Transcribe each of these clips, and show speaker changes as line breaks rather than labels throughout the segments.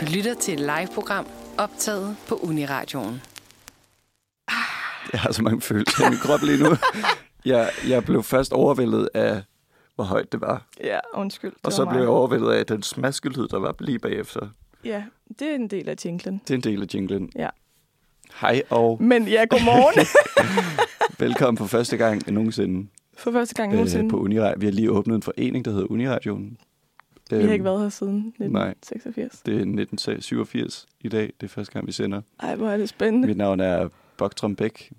Du lytter til et live-program optaget på Uniradioen.
Jeg har så mange følelser i min krop lige nu. Jeg, jeg blev først overvældet af, hvor højt det var.
Ja, undskyld. det var
Og så
mig.
blev jeg overvældet af den smaskelyd, der var lige bagefter.
Ja, det er en del af jinglen.
Det er en del af jinglen.
Ja.
Hej og
Men ja, godmorgen.
velkommen for første gang nogensinde,
For første gang
øh,
nogensinde.
på Uniradio. Vi har lige åbnet en forening, der hedder Uniradioen.
Vi
øhm,
har ikke været her siden 1986.
Det er 1987 i dag. Det er første gang, vi sender.
Ej, hvor er det spændende.
Mit navn er Boktrom Bæk.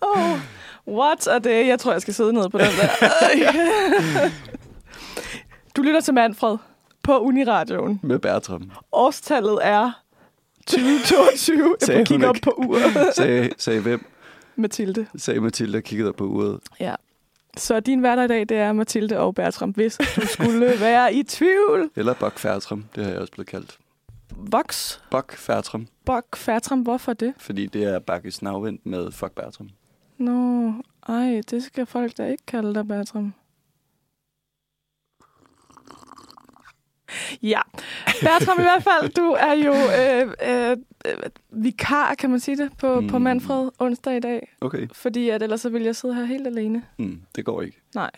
Oh, what a day. Jeg tror, jeg skal sidde ned på den der. Øj. Du lytter til Manfred på Uniradioen.
Med Bertram.
Årstallet er 2022. Jeg
Sagde
må
hun
kigge op
ikke.
på uret.
Sagde, sagde hvem?
Mathilde.
Sagde Mathilde og kiggede op på uret.
Ja. Så din hverdag i dag, det er Mathilde og Bertram. Hvis du skulle være i tvivl.
Eller Bok Fertram. Det har jeg også blevet kaldt.
Vox,
Bok Fertram.
Bok, Fertram, hvorfor det?
Fordi det er Bakkes navvind med Fuck Bertram.
Nå, ej, det skal folk da ikke kalde dig, Bertram. Ja, Bertram i hvert fald, du er jo øh, øh, øh, vikar, kan man sige det, på, mm. på
Mm.
Manfred onsdag i dag.
Okay.
Fordi at ellers så ville jeg sidde her helt alene.
Mm, det går ikke.
Nej.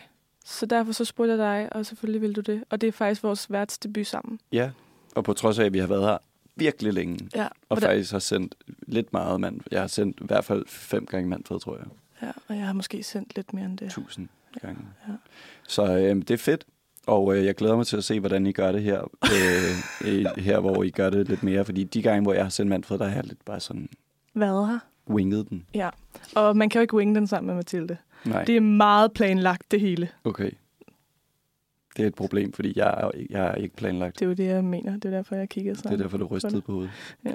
Så derfor så spurgte jeg dig, og selvfølgelig ville du det. Og det er faktisk vores værtsdebut sammen.
Ja. Og på trods af, at vi har været her virkelig længe,
Ja,
og
hvordan-
faktisk har sendt lidt meget mand. Jeg har sendt i hvert fald fem gange Manfred, tror jeg.
ja, og jeg har måske sendt lidt mere end det.
Tusind gange.
Ja.
Så øh, det er fedt, og øh, jeg glæder mig til at se, hvordan I gør det her, øh, øh, her hvor I gør det lidt mere. Fordi de gange, hvor jeg har sendt Manfred, der har jeg lidt bare sådan
Hvad her?
winget den.
Ja, og man kan jo ikke winge den sammen med Mathilde.
Nej,
Det er meget planlagt, det hele.
okay. Det er et problem, fordi jeg er, jeg er ikke planlagt.
Det er jo det, jeg mener. Det er derfor, jeg kiggede
Det er
sådan.
derfor, du rystede på hovedet.
Ja.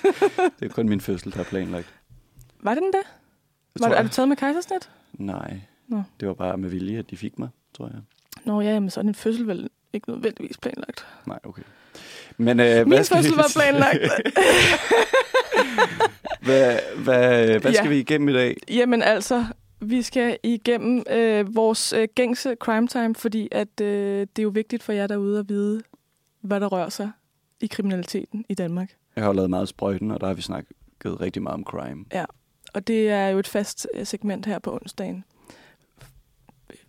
det er kun min fødsel, der er planlagt.
Var det den der?
Det
Var,
tror
er
jeg.
du taget med kejsersnit?
Nej,
Nå.
det var bare med vilje, at de fik mig, tror jeg.
Nå ja, men sådan en fødsel vel ikke nødvendigvis planlagt.
Nej, okay. Men, øh, hvad
Min
skal
fødsel
vi-
var planlagt.
hvad, hvad, hvad
Ja.
skal vi igennem i dag?
Jamen altså, vi skal igennem øh, vores øh, gængse crime time, fordi at, øh, det er jo vigtigt for jer derude at vide, hvad der rører sig i kriminaliteten i Danmark.
Jeg har jo lavet meget sprøjten, og der har vi snakket rigtig meget om crime.
Og det er jo et fast øh, segment her på onsdagen.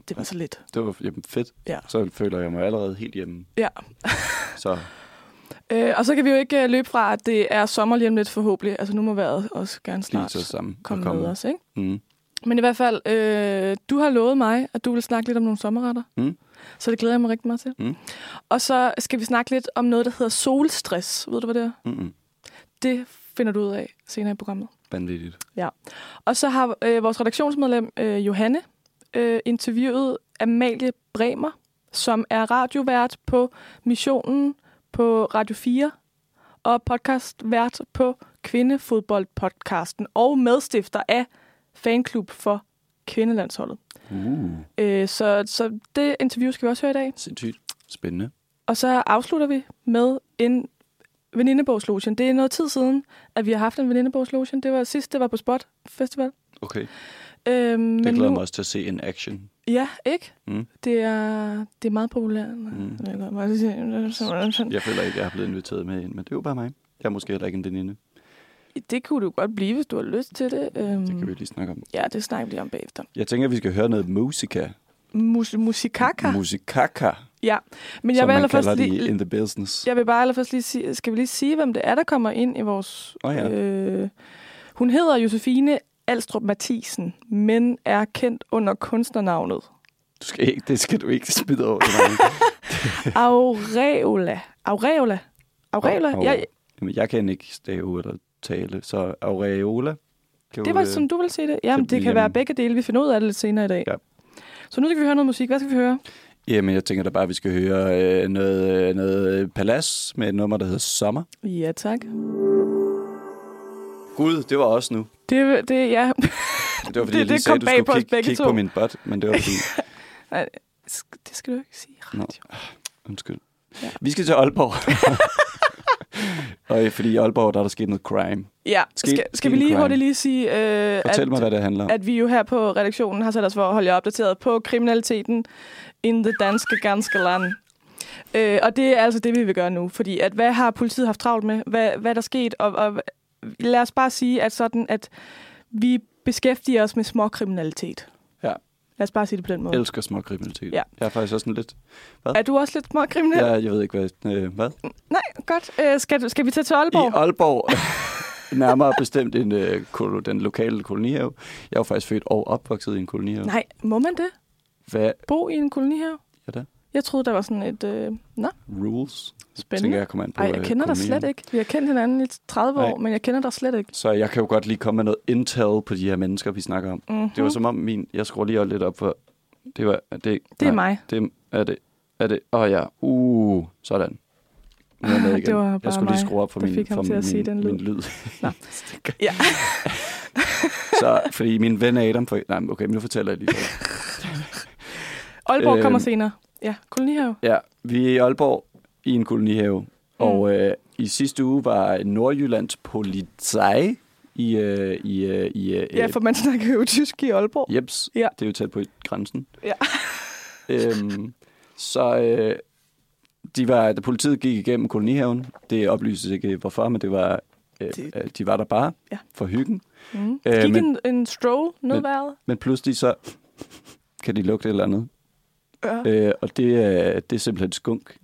Det var så lidt.
Det var jamen, fedt.
Ja.
Så føler jeg mig allerede helt hjemme.
Ja.
Så
Øh, og så kan vi jo ikke øh, løbe fra, at det er sommer lige om lidt forhåbentlig. Altså nu må vejret også gerne
lige
snart
så sammen.
komme
og
med os, ikke?
Mm.
Men i hvert fald, øh, du har lovet mig, at du vil snakke lidt om nogle sommerretter.
Mm.
Så det glæder jeg mig rigtig meget til.
Mm.
Og så skal vi snakke lidt om noget, der hedder solstress. Ved du, hvad det er?
Mm-mm.
Det finder du ud af senere i programmet.
Vanvittigt.
Og så har øh, vores redaktionsmedlem øh, Johanne øh, interviewet Amalie Bremer, som er radiovært på Missionen på Radio 4 og podcastvært på Kvindefodboldpodcasten og medstifter af Fanklub for Kvindelandsholdet.
Uh.
Øh, så, så det interview skal vi også høre i dag.
Sindssygt. Spændende.
Og så afslutter vi med en venindebogslotion. Det er noget tid siden, at vi har haft en venindebogslotion. Det var sidst, det var på Spot Festival.
Okay.
Øhm,
Det
men
glæder
nu-
mig også til at se en action.
Ja, ikke?
Mm.
Det er, det er meget populært.
Mm.
Jeg kan godt sige-
Jeg føler ikke, jeg er blevet inviteret med ind, men det er jo bare mig. Jeg er måske heller ikke en veninde.
Det kunne du godt blive, hvis du har lyst til det. Øhm,
Det kan vi lige snakke om.
Ja, det snakker vi lige om bagefter.
Jeg tænker, at vi skal høre noget musika.
Mus- musikaka.
Musikaka,
ja, men jeg
som
vil
man
allerførst
kalder det
lige...
i in the business.
Jeg vil bare allerførst lige sige, skal vi lige sige, hvem det er, der kommer ind i vores...
Åh ja.
øh, hun hedder Josefine Alstrup Mathisen, men er kendt under kunstnernavnet
Du skal ikke, det skal du ikke smide over til mig.
Aureola. Aureola? Aureola?
Au-
Ja,
Jamen, jeg kan ikke stave eller tale, så aureola. Kan
det
jo,
var,
øh,
som du vil se det. Jamen, det
bliver
kan være
hjemme.
begge dele. Vi finder ud af det lidt senere i dag.
Ja.
Så nu skal vi høre noget musik. Hvad skal vi høre?
Jamen, jeg tænker da bare, at vi skal høre øh, noget, øh, noget palas med et nummer, der hedder Sommer.
Ja, tak.
Gud, det var også nu.
Det, det, ja.
Det var, fordi jeg
Det-
lige
det
sagde,
kom
du
bag
skulle
på os
kigge,
begge
kigge
to.
på min bot, men det var fordi...
Nej, sk- det skal du ikke sige i
Nå.
radio.
Undskyld.
Ja.
Vi skal til Aalborg. Og øh, fordi i Aalborg, der er der sket noget crime.
Ja,
Ske-
skal, skal,
sket
vi
en
lige
crime.
hurtigt lige sige, øh,
Fortæl
at,
mig, hvad det handler om.
at vi jo her på redaktionen har sat os for at holde jer opdateret på kriminaliteten in the danske ganske land. Øh, og det er altså det, vi vil gøre nu, fordi at hvad har politiet haft travlt med? Hvad, hvad er der sket? Og, og lad os bare sige, at sådan at vi beskæftiger os med småkriminalitet.
Ja.
Lad os bare sige det på den måde.
elsker småkriminalitet.
Ja.
Jeg er faktisk også sådan lidt...
Er du også lidt småkriminel?
Jeg, jeg ved ikke, hvad... Øh, hvad?
Nej, godt. Øh, skal, du- skal vi tage til Aalborg?
I Aalborg, nærmere bestemt en, øh, kolo, den lokale kolonihave. Jeg er jo faktisk født og opvokset i en kolonihave.
Nej, må man det?
Hvad
Bo i en kolonihave?
er det?
Jeg troede, der var sådan et... Øh... Nå,
Rules? Tænker
spændende.
jeg, kommer an på
Ej, jeg
øh,
kender dig
kolonihave.
slet ikke. Vi har kendt hinanden i 30
Nej.
år, men jeg kender dig slet ikke.
Så jeg kan jo godt lige komme med noget intel på de her mennesker, vi snakker om.
Mm-hmm.
Det var som om min... Jeg skruer lige lidt op for... Det var... er Det,
det er
nej,
mig.
Det er det. Er det? Åh oh, ja. Uh, sådan. Nu er jeg med
Ah,
igen.
det var
jeg
bare
skulle lige
mig,
skrue op for
der
min,
fik ham
for
til at
min,
sige den lyd.
min lyd.
Nå.
ja.
Ja.
så, fordi min ven Adam... For, nej, men okay, men nu fortæller jeg lige. så.
Aalborg
Øhm.
øh... kommer senere. Ja, kolonihave.
Ja, vi er i Aalborg i en kolonihave.
Mm.
Og øh, i sidste uge var Nordjyllands politi i... Øh, i, øh, i øh,
Ja, for man snakker jo tysk i Aalborg.
Jeps, ja.
Ja.
det er jo tæt på grænsen.
Ja.
øhm, så øh, de var, da politiet gik igennem kolonihaven, det oplyses ikke hvorfor, men det var, øh,
Det-
øh, de var der bare
Ja.
for hyggen.
Mm.
Øh,
Øh, Gik
men-
en, en stroll ned
men-
vejret.
Men pludselig så kan de lugte et eller andet.
Ja.
Øh, og det, øh, det er simpelthen skunk.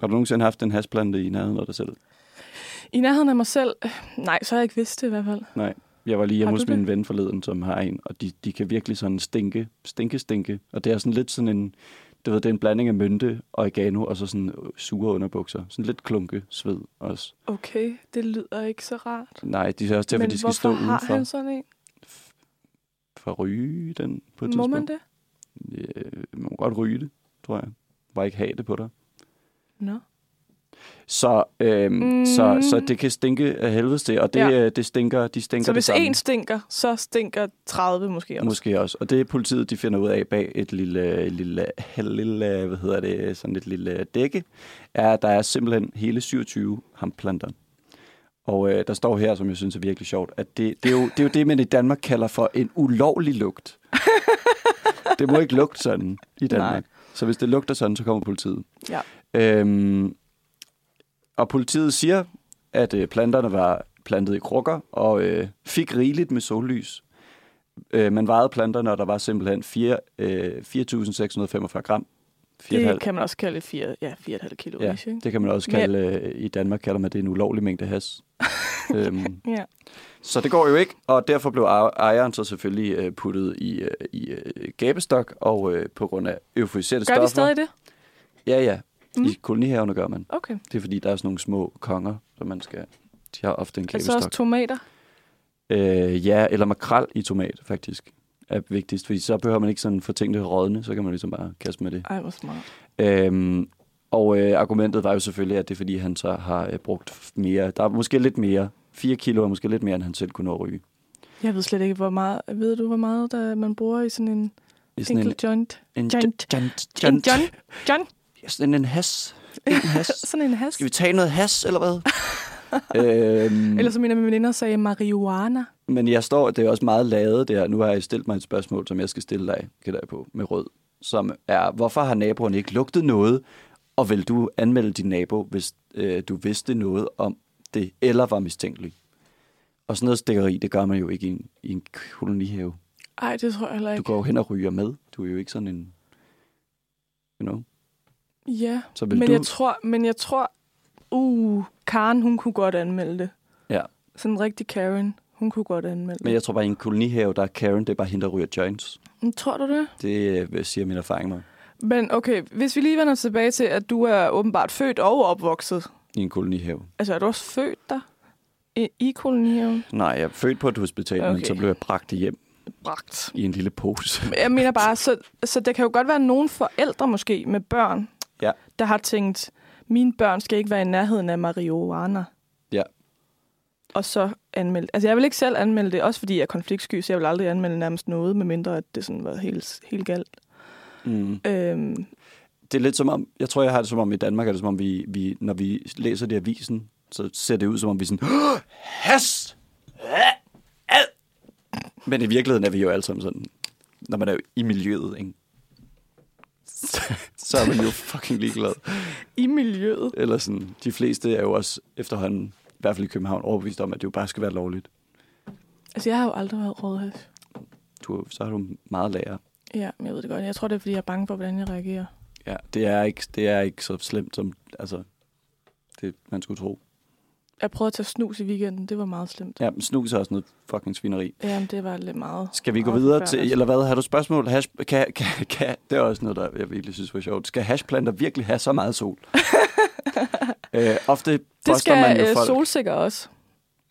Har du nogensinde haft en hasplante i nærheden af dig selv?
I nærheden af mig selv? Øh, Nej, så har jeg ikke vidst det i hvert fald.
Jeg var lige hjemme
Har du
hos
det?
min ven forleden, som har en, og de, de kan virkelig sådan stinke, stinke, stinke. Og det er sådan lidt sådan en, du ved, det er en blanding af mynte, oregano og så sådan øh, sure underbukser. Sådan lidt klunke sved også.
Okay, det lyder ikke så rart.
Nej, de er også derfor,
men
de skal
hvorfor
stå
har
udenfor
han sådan en?
for at ryge den på et
Må
tidspunkt.
man det?
Øh, man må godt ryge det, tror jeg. Bare ikke have det på dig.
Nå.
Så, øhm, mm.
Mm.
så, så det kan stinke af helvedes det, og det,
Ja.
ja. det stinker, de stinker
Så
det
hvis
samme.
en stinker, så stinker 30 måske også.
Måske også. Og det er politiet, de finder ud af bag et lille, et lille, lille hvad hedder det, sådan et lille dække, er, at der er simpelthen hele 27 hamplanter. Og øh, der står her, som jeg synes er virkelig sjovt, at det, det, er jo, det er jo det, man i Danmark kalder for en ulovlig lugt. det må ikke lugte sådan i Danmark. Nej.
Nej.
Så hvis det lugter sådan, så kommer politiet.
Ja.
Øhm, og politiet siger, at øh, planterne var plantet i krukker og øh, fik rigeligt med sollys. Øh, man vejede planterne, og der var simpelthen fire, øh, 4.645 gram.
Det
4,5.
kan man også kalde 4, ja, 4,5 kilo.
Ja,
Ja. Ikke?
det kan man også kalde, øh, i Danmark kalder man det en ulovlig mængde has. øhm,
Ja.
så det går jo ikke, og derfor blev ejer- ejeren så selvfølgelig øh, puttet i, øh, i øh, gabestok, og øh, på grund af euforiserende
Gør
stoffer...
vi stadig det?
Ja, ja. Mm.
Mm.
I kolonihaverne gør man.
Okay.
Det er fordi, der er sådan nogle små konger, som man skal... De har ofte en
Altså
klæbestok.
også
Altså
tomater?
øh, ja, eller makrel i tomat, faktisk, er vigtigst. Fordi så behøver man ikke sådan få tingene rådne, så kan man ligesom bare kaste med det.
Ej, hvor smart.
Øhm, og øh, argumentet var jo selvfølgelig, at det er fordi, han så har øh, brugt f- mere. Der er måske lidt mere. 4 kilo er måske lidt mere, end han selv kunne nå at ryge.
Jeg ved slet ikke, hvor meget... Ved du, hvor meget der man bruger i sådan en
Det er sådan
single
en,
en, joint?
en,
joint.
joint,
En
joint.
John? John?
Sådan en has. En has.
Sådan en has?
Skal vi tage noget has, eller hvad? øhm,
Eller som en af mine veninder sagde, marihuana.
Men jeg står, det er også meget lavet der. Nu har jeg stillet mig et spørgsmål, som jeg skal stille dig, gætter jeg på, med rød. Som er, hvorfor har naboerne ikke lugtet noget? Og vil du anmelde din nabo, hvis øh, du vidste noget om det, eller var mistænkelig? Og sådan noget stikkeri, det gør man jo ikke i en, i en kolonihave.
Ej, det tror jeg heller
Du
ikke.
går jo hen og ryger med. Du er jo ikke sådan en... You know?
Ja,
Så vil
men,
du...
jeg tror, men jeg tror... Uh, Karen, hun kunne godt anmelde det.
Ja.
Sådan en rigtig Karen, hun kunne godt anmelde
Men
det.
jeg tror bare, i en kolonihave, der er Karen, det er bare hende, der ryger joints.
Men Tror du det?
Det øh, siger min erfaring mig.
Men okay, hvis vi lige vender tilbage til, at du er åbenbart født og opvokset
I en kolonihave.
Altså, er du også født der? I, i kolonihaven?
Nej, jeg er født på et hospital, okay. men
Okay.
så blev jeg bragt hjem
Bragt.
i en lille pose.
Jeg mener bare, så, så der kan jo godt være nogle forældre måske med børn,
Ja.
der har tænkt, mine børn skal ikke være i nærheden af marihuana.
Ja.
Og så anmelde. Altså, jeg vil ikke selv anmelde det, også fordi jeg er konfliktsky, så jeg vil aldrig anmelde nærmest noget, medmindre at det sådan var helt, helt galt.
Mm.
Øhm,
Det er lidt som om, jeg tror, jeg har det som om i Danmark, er det som om, vi, vi, når vi læser det i avisen, så ser det ud, som om vi er sådan, "Åh, hast! Ad!" Men i virkeligheden er vi jo alle sammen sådan, når man er i miljøet, ikke? Så, så er man jo fucking ligeglad.
i miljøet.
Eller sådan, de fleste er jo også efterhånden, i hvert fald i København, overbevist om, at det jo bare skal være lovligt.
Altså, jeg har jo aldrig været rådhøst.
Du, så har du meget lærer.
Ja, men jeg ved det godt. Jeg tror, det er, fordi jeg er bange for, hvordan jeg reagerer.
Ja, det er ikke, det er ikke så slemt, som altså, det, man skulle tro.
Jeg prøvede at tage snus i weekenden. Det var meget slemt.
Ja, men snus er også noget fucking svineri.
Jamen, det var lidt meget.
Skal vi gå
meget
videre til,
forfærdeligt.
eller hvad, har du spørgsmål? Hash, kan, kan, kan, det er også noget, der jeg virkelig synes var sjovt. Skal hashplanter virkelig have så meget sol? øh, ofte
Det
poster man
skal
jo
øh,
folk
solsikker også.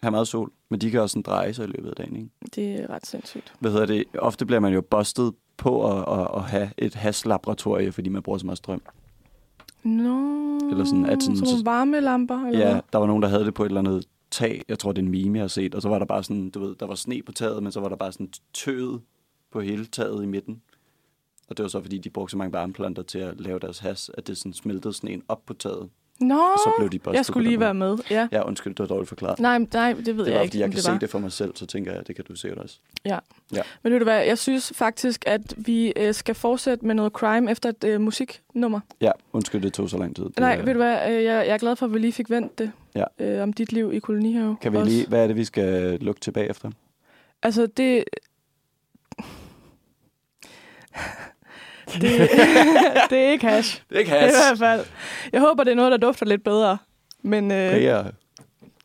have meget sol, men de kan også sådan dreje sig i løbet af dagen. Ikke?
Det er ret sindssygt.
Hvad hedder det? Ofte bliver man jo bustet på at, at, at have et hash-laboratorie, fordi man bruger så meget strøm.
Nå,
Eller sådan, at sådan-
sådan nogle varmelamper? Eller
Ja,
hvad?
der var nogen, der havde det på et eller andet tag. Jeg tror, det er en meme, jeg har set. Og så var der bare sådan, du ved, der var sne på taget, men så var der bare sådan tøet på hele taget i midten. Og det var så, fordi de brugte så mange varmeplanter til at lave deres has, at det sådan smeltede sneen op på taget.
Nå,
Og så blev de bustet
jeg
på
skulle
den
lige
måde.
være med. Ja.
Ja, undskyld, det var dårligt forklaret.
Nej, men- nej, det ved
det
jeg
var,
ikke.
fordi jeg
om
kan
var.
se det for mig selv, så tænker jeg, det kan du sikkert også.
Ja.
Ja.
Men ved du hvad, jeg synes faktisk, at vi øh, skal fortsætte med noget crime efter et øh, musiknummer.
Ja, undskyld, det tog så lang tid. Det,
Nej,
øh,
ved du hvad, øh, jeg, jeg er glad for, at vi lige fik vendt det.
Ja.
Øh, om dit liv i kolonihave.
øh, Kan vi
også.
lige, hvad er det, vi skal lukke tilbage efter?
Altså, det... det, det er ikke hash.
Det kan
Det er i hvert fald. Jeg håber, det er noget, der dufter lidt bedre. Men øh,
Riger,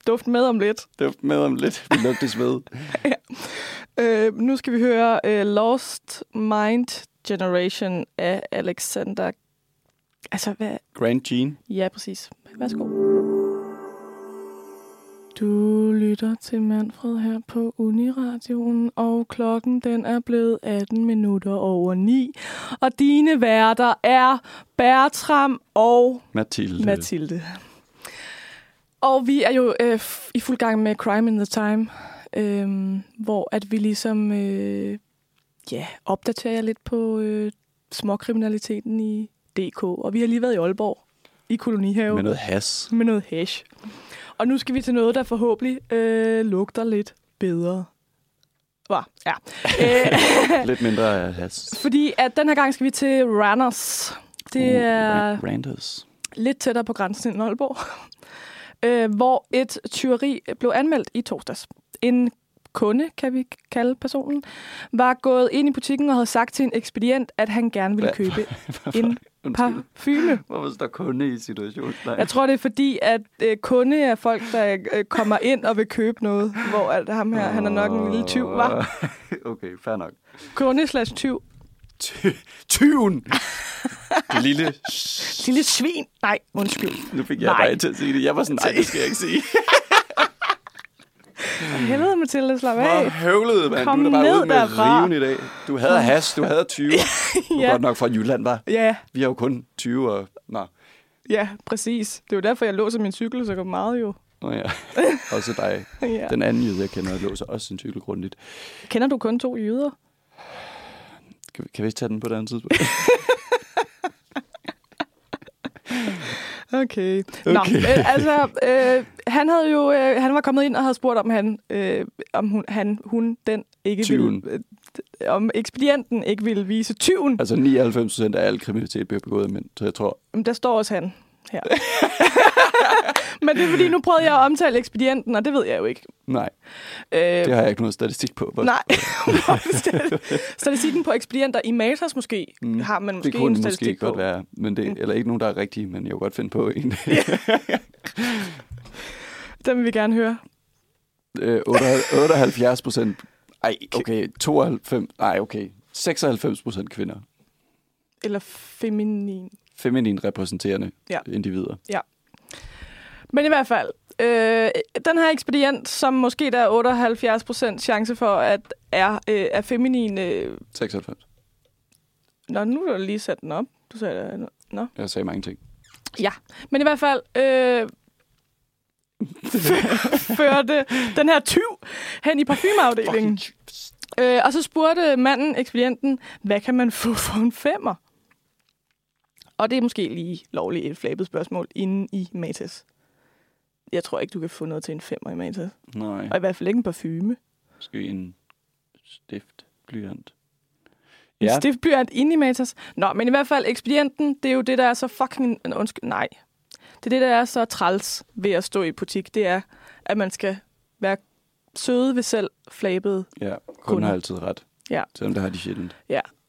duft med om lidt.
det er med om lidt. Vi lugtes ved.
Øh, nu skal vi høre øh, Lost Mind Generation af Alexander... Altså, hvad,
Grand Jean.
Ja, præcis. Værsgo. Du lytter til Manfred her på Uniradioen, og klokken den er blevet 18 minutter over 9. Og dine værter er Bertram og
Mathilde.
Mathilde. Og vi er jo øh, f- i fuld gang med Crime in the Time, øh, hvor at vi ligesom øh, ja, opdaterer jer lidt på øh, småkriminaliteten i DK. Og vi har lige været i Aalborg i kolonihave
Med noget has.
med noget hash. Og nu skal vi til noget, der forhåbentlig øh, lugter lidt bedre. Hva? Ja. Æ,
Lidt mindre af has.
fordi at den her gang skal vi til Randers. Det
Uh,
er
Ran- Randers.
lidt tættere på grænsen end Aalborg, øh, hvor et tyveri blev anmeldt i torsdags. En kunde, kan vi kalde personen, var gået ind i butikken og havde sagt til en ekspedient, at han gerne ville
Hvad?
købe en parfume.
Hvorfor står kunde i situationen? Nej.
Jeg tror, det er fordi, at øh, kunde er folk, der øh, kommer ind og vil købe noget, hvor at ham her, han er nok en lille tyv, var.
okay, fair nok.
Kunde slash tyv.
Tyven! Det lille...
Lille svin. Nej, undskyld.
Nu fik jeg
Nej.
dig til at sige det. Jeg var sådan, nej, det skal jeg ikke sige.
Helvede, Mathilde, slap
Hvor
af.
høvlede, mand.
Kom
du er da bare
ned
ude med
derfra.
riven i dag. Du havde has, du havde 20. Du var
Ja.
godt nok fra Jylland, var.
Ja,
Vi har jo kun 20 og... Nå.
ja, præcis. Det er jo derfor, jeg låser min cykel så meget jo.
Nå ja, også dig.
Ja.
Den anden jyde, jeg kender, låser også sin cykel grundigt.
Kender du kun to jyder?
Kan vi, kan vi ikke tage den på et andet tidspunkt?
Okay. Nå,
Okay.
øh, altså, øh, han havde jo, øh, han var kommet ind og havde spurgt, om han, øh, om hun, han, hun, den ikke
Tyven.
ville, øh, om ekspedienten ikke ville vise tyven.
Altså 99 procent af al kriminalitet bliver begået af mænd, så jeg tror...
Men der står også han her. Men det er fordi, nu prøvede jeg at omtale ekspedienten, og det ved jeg jo ikke.
Nej,
Øh,
det har jeg ikke noget statistik på. hvor-
Nej, statistikken på ekspedienter i Matas måske mm. har man måske
det kunne
en
det
statistik
måske
på. Mm.
godt være, men det, eller ikke nogen, der er rigtige, men jeg kunne godt finde på en.
Den vil vi gerne høre.
Øh, 78 procent... Ej, okay, 92... Nej, okay. 96 procent kvinder.
Eller feminin.
Feminin repræsenterende
Ja.
individer.
Men i hvert fald, øh, den her ekspedient, som måske der er 78% chance for, at er, øh, er feminin... Øh...
96.
Nå, nu har du lige sat den op. Du sagde det. Nå.
Jeg sagde mange ting.
Ja, men i hvert fald øh, førte den her tyv hen i parfumeafdelingen. Øh, og så spurgte manden, ekspedienten, hvad kan man få for en femmer? Og det er måske lige lovligt et flabet spørgsmål inde i Matas. jeg tror ikke, du kan få noget til en femmer i Matas.
Nej,
Og i hvert fald ikke en parfume.
måske en stift, blyant.
Ja.
Ja.
En stift blyant inde i Matas. Nå, men i hvert fald, ekspedienten, det er jo det, der er så fucking... nå, Undskyld, nej. Det er det, der er så træls ved at stå i butik. Det er, at man skal være søde ved selv flabede.
Ja, kunden
Kunder.
har altid ret.
Ja.
Selvom det har de sjældent.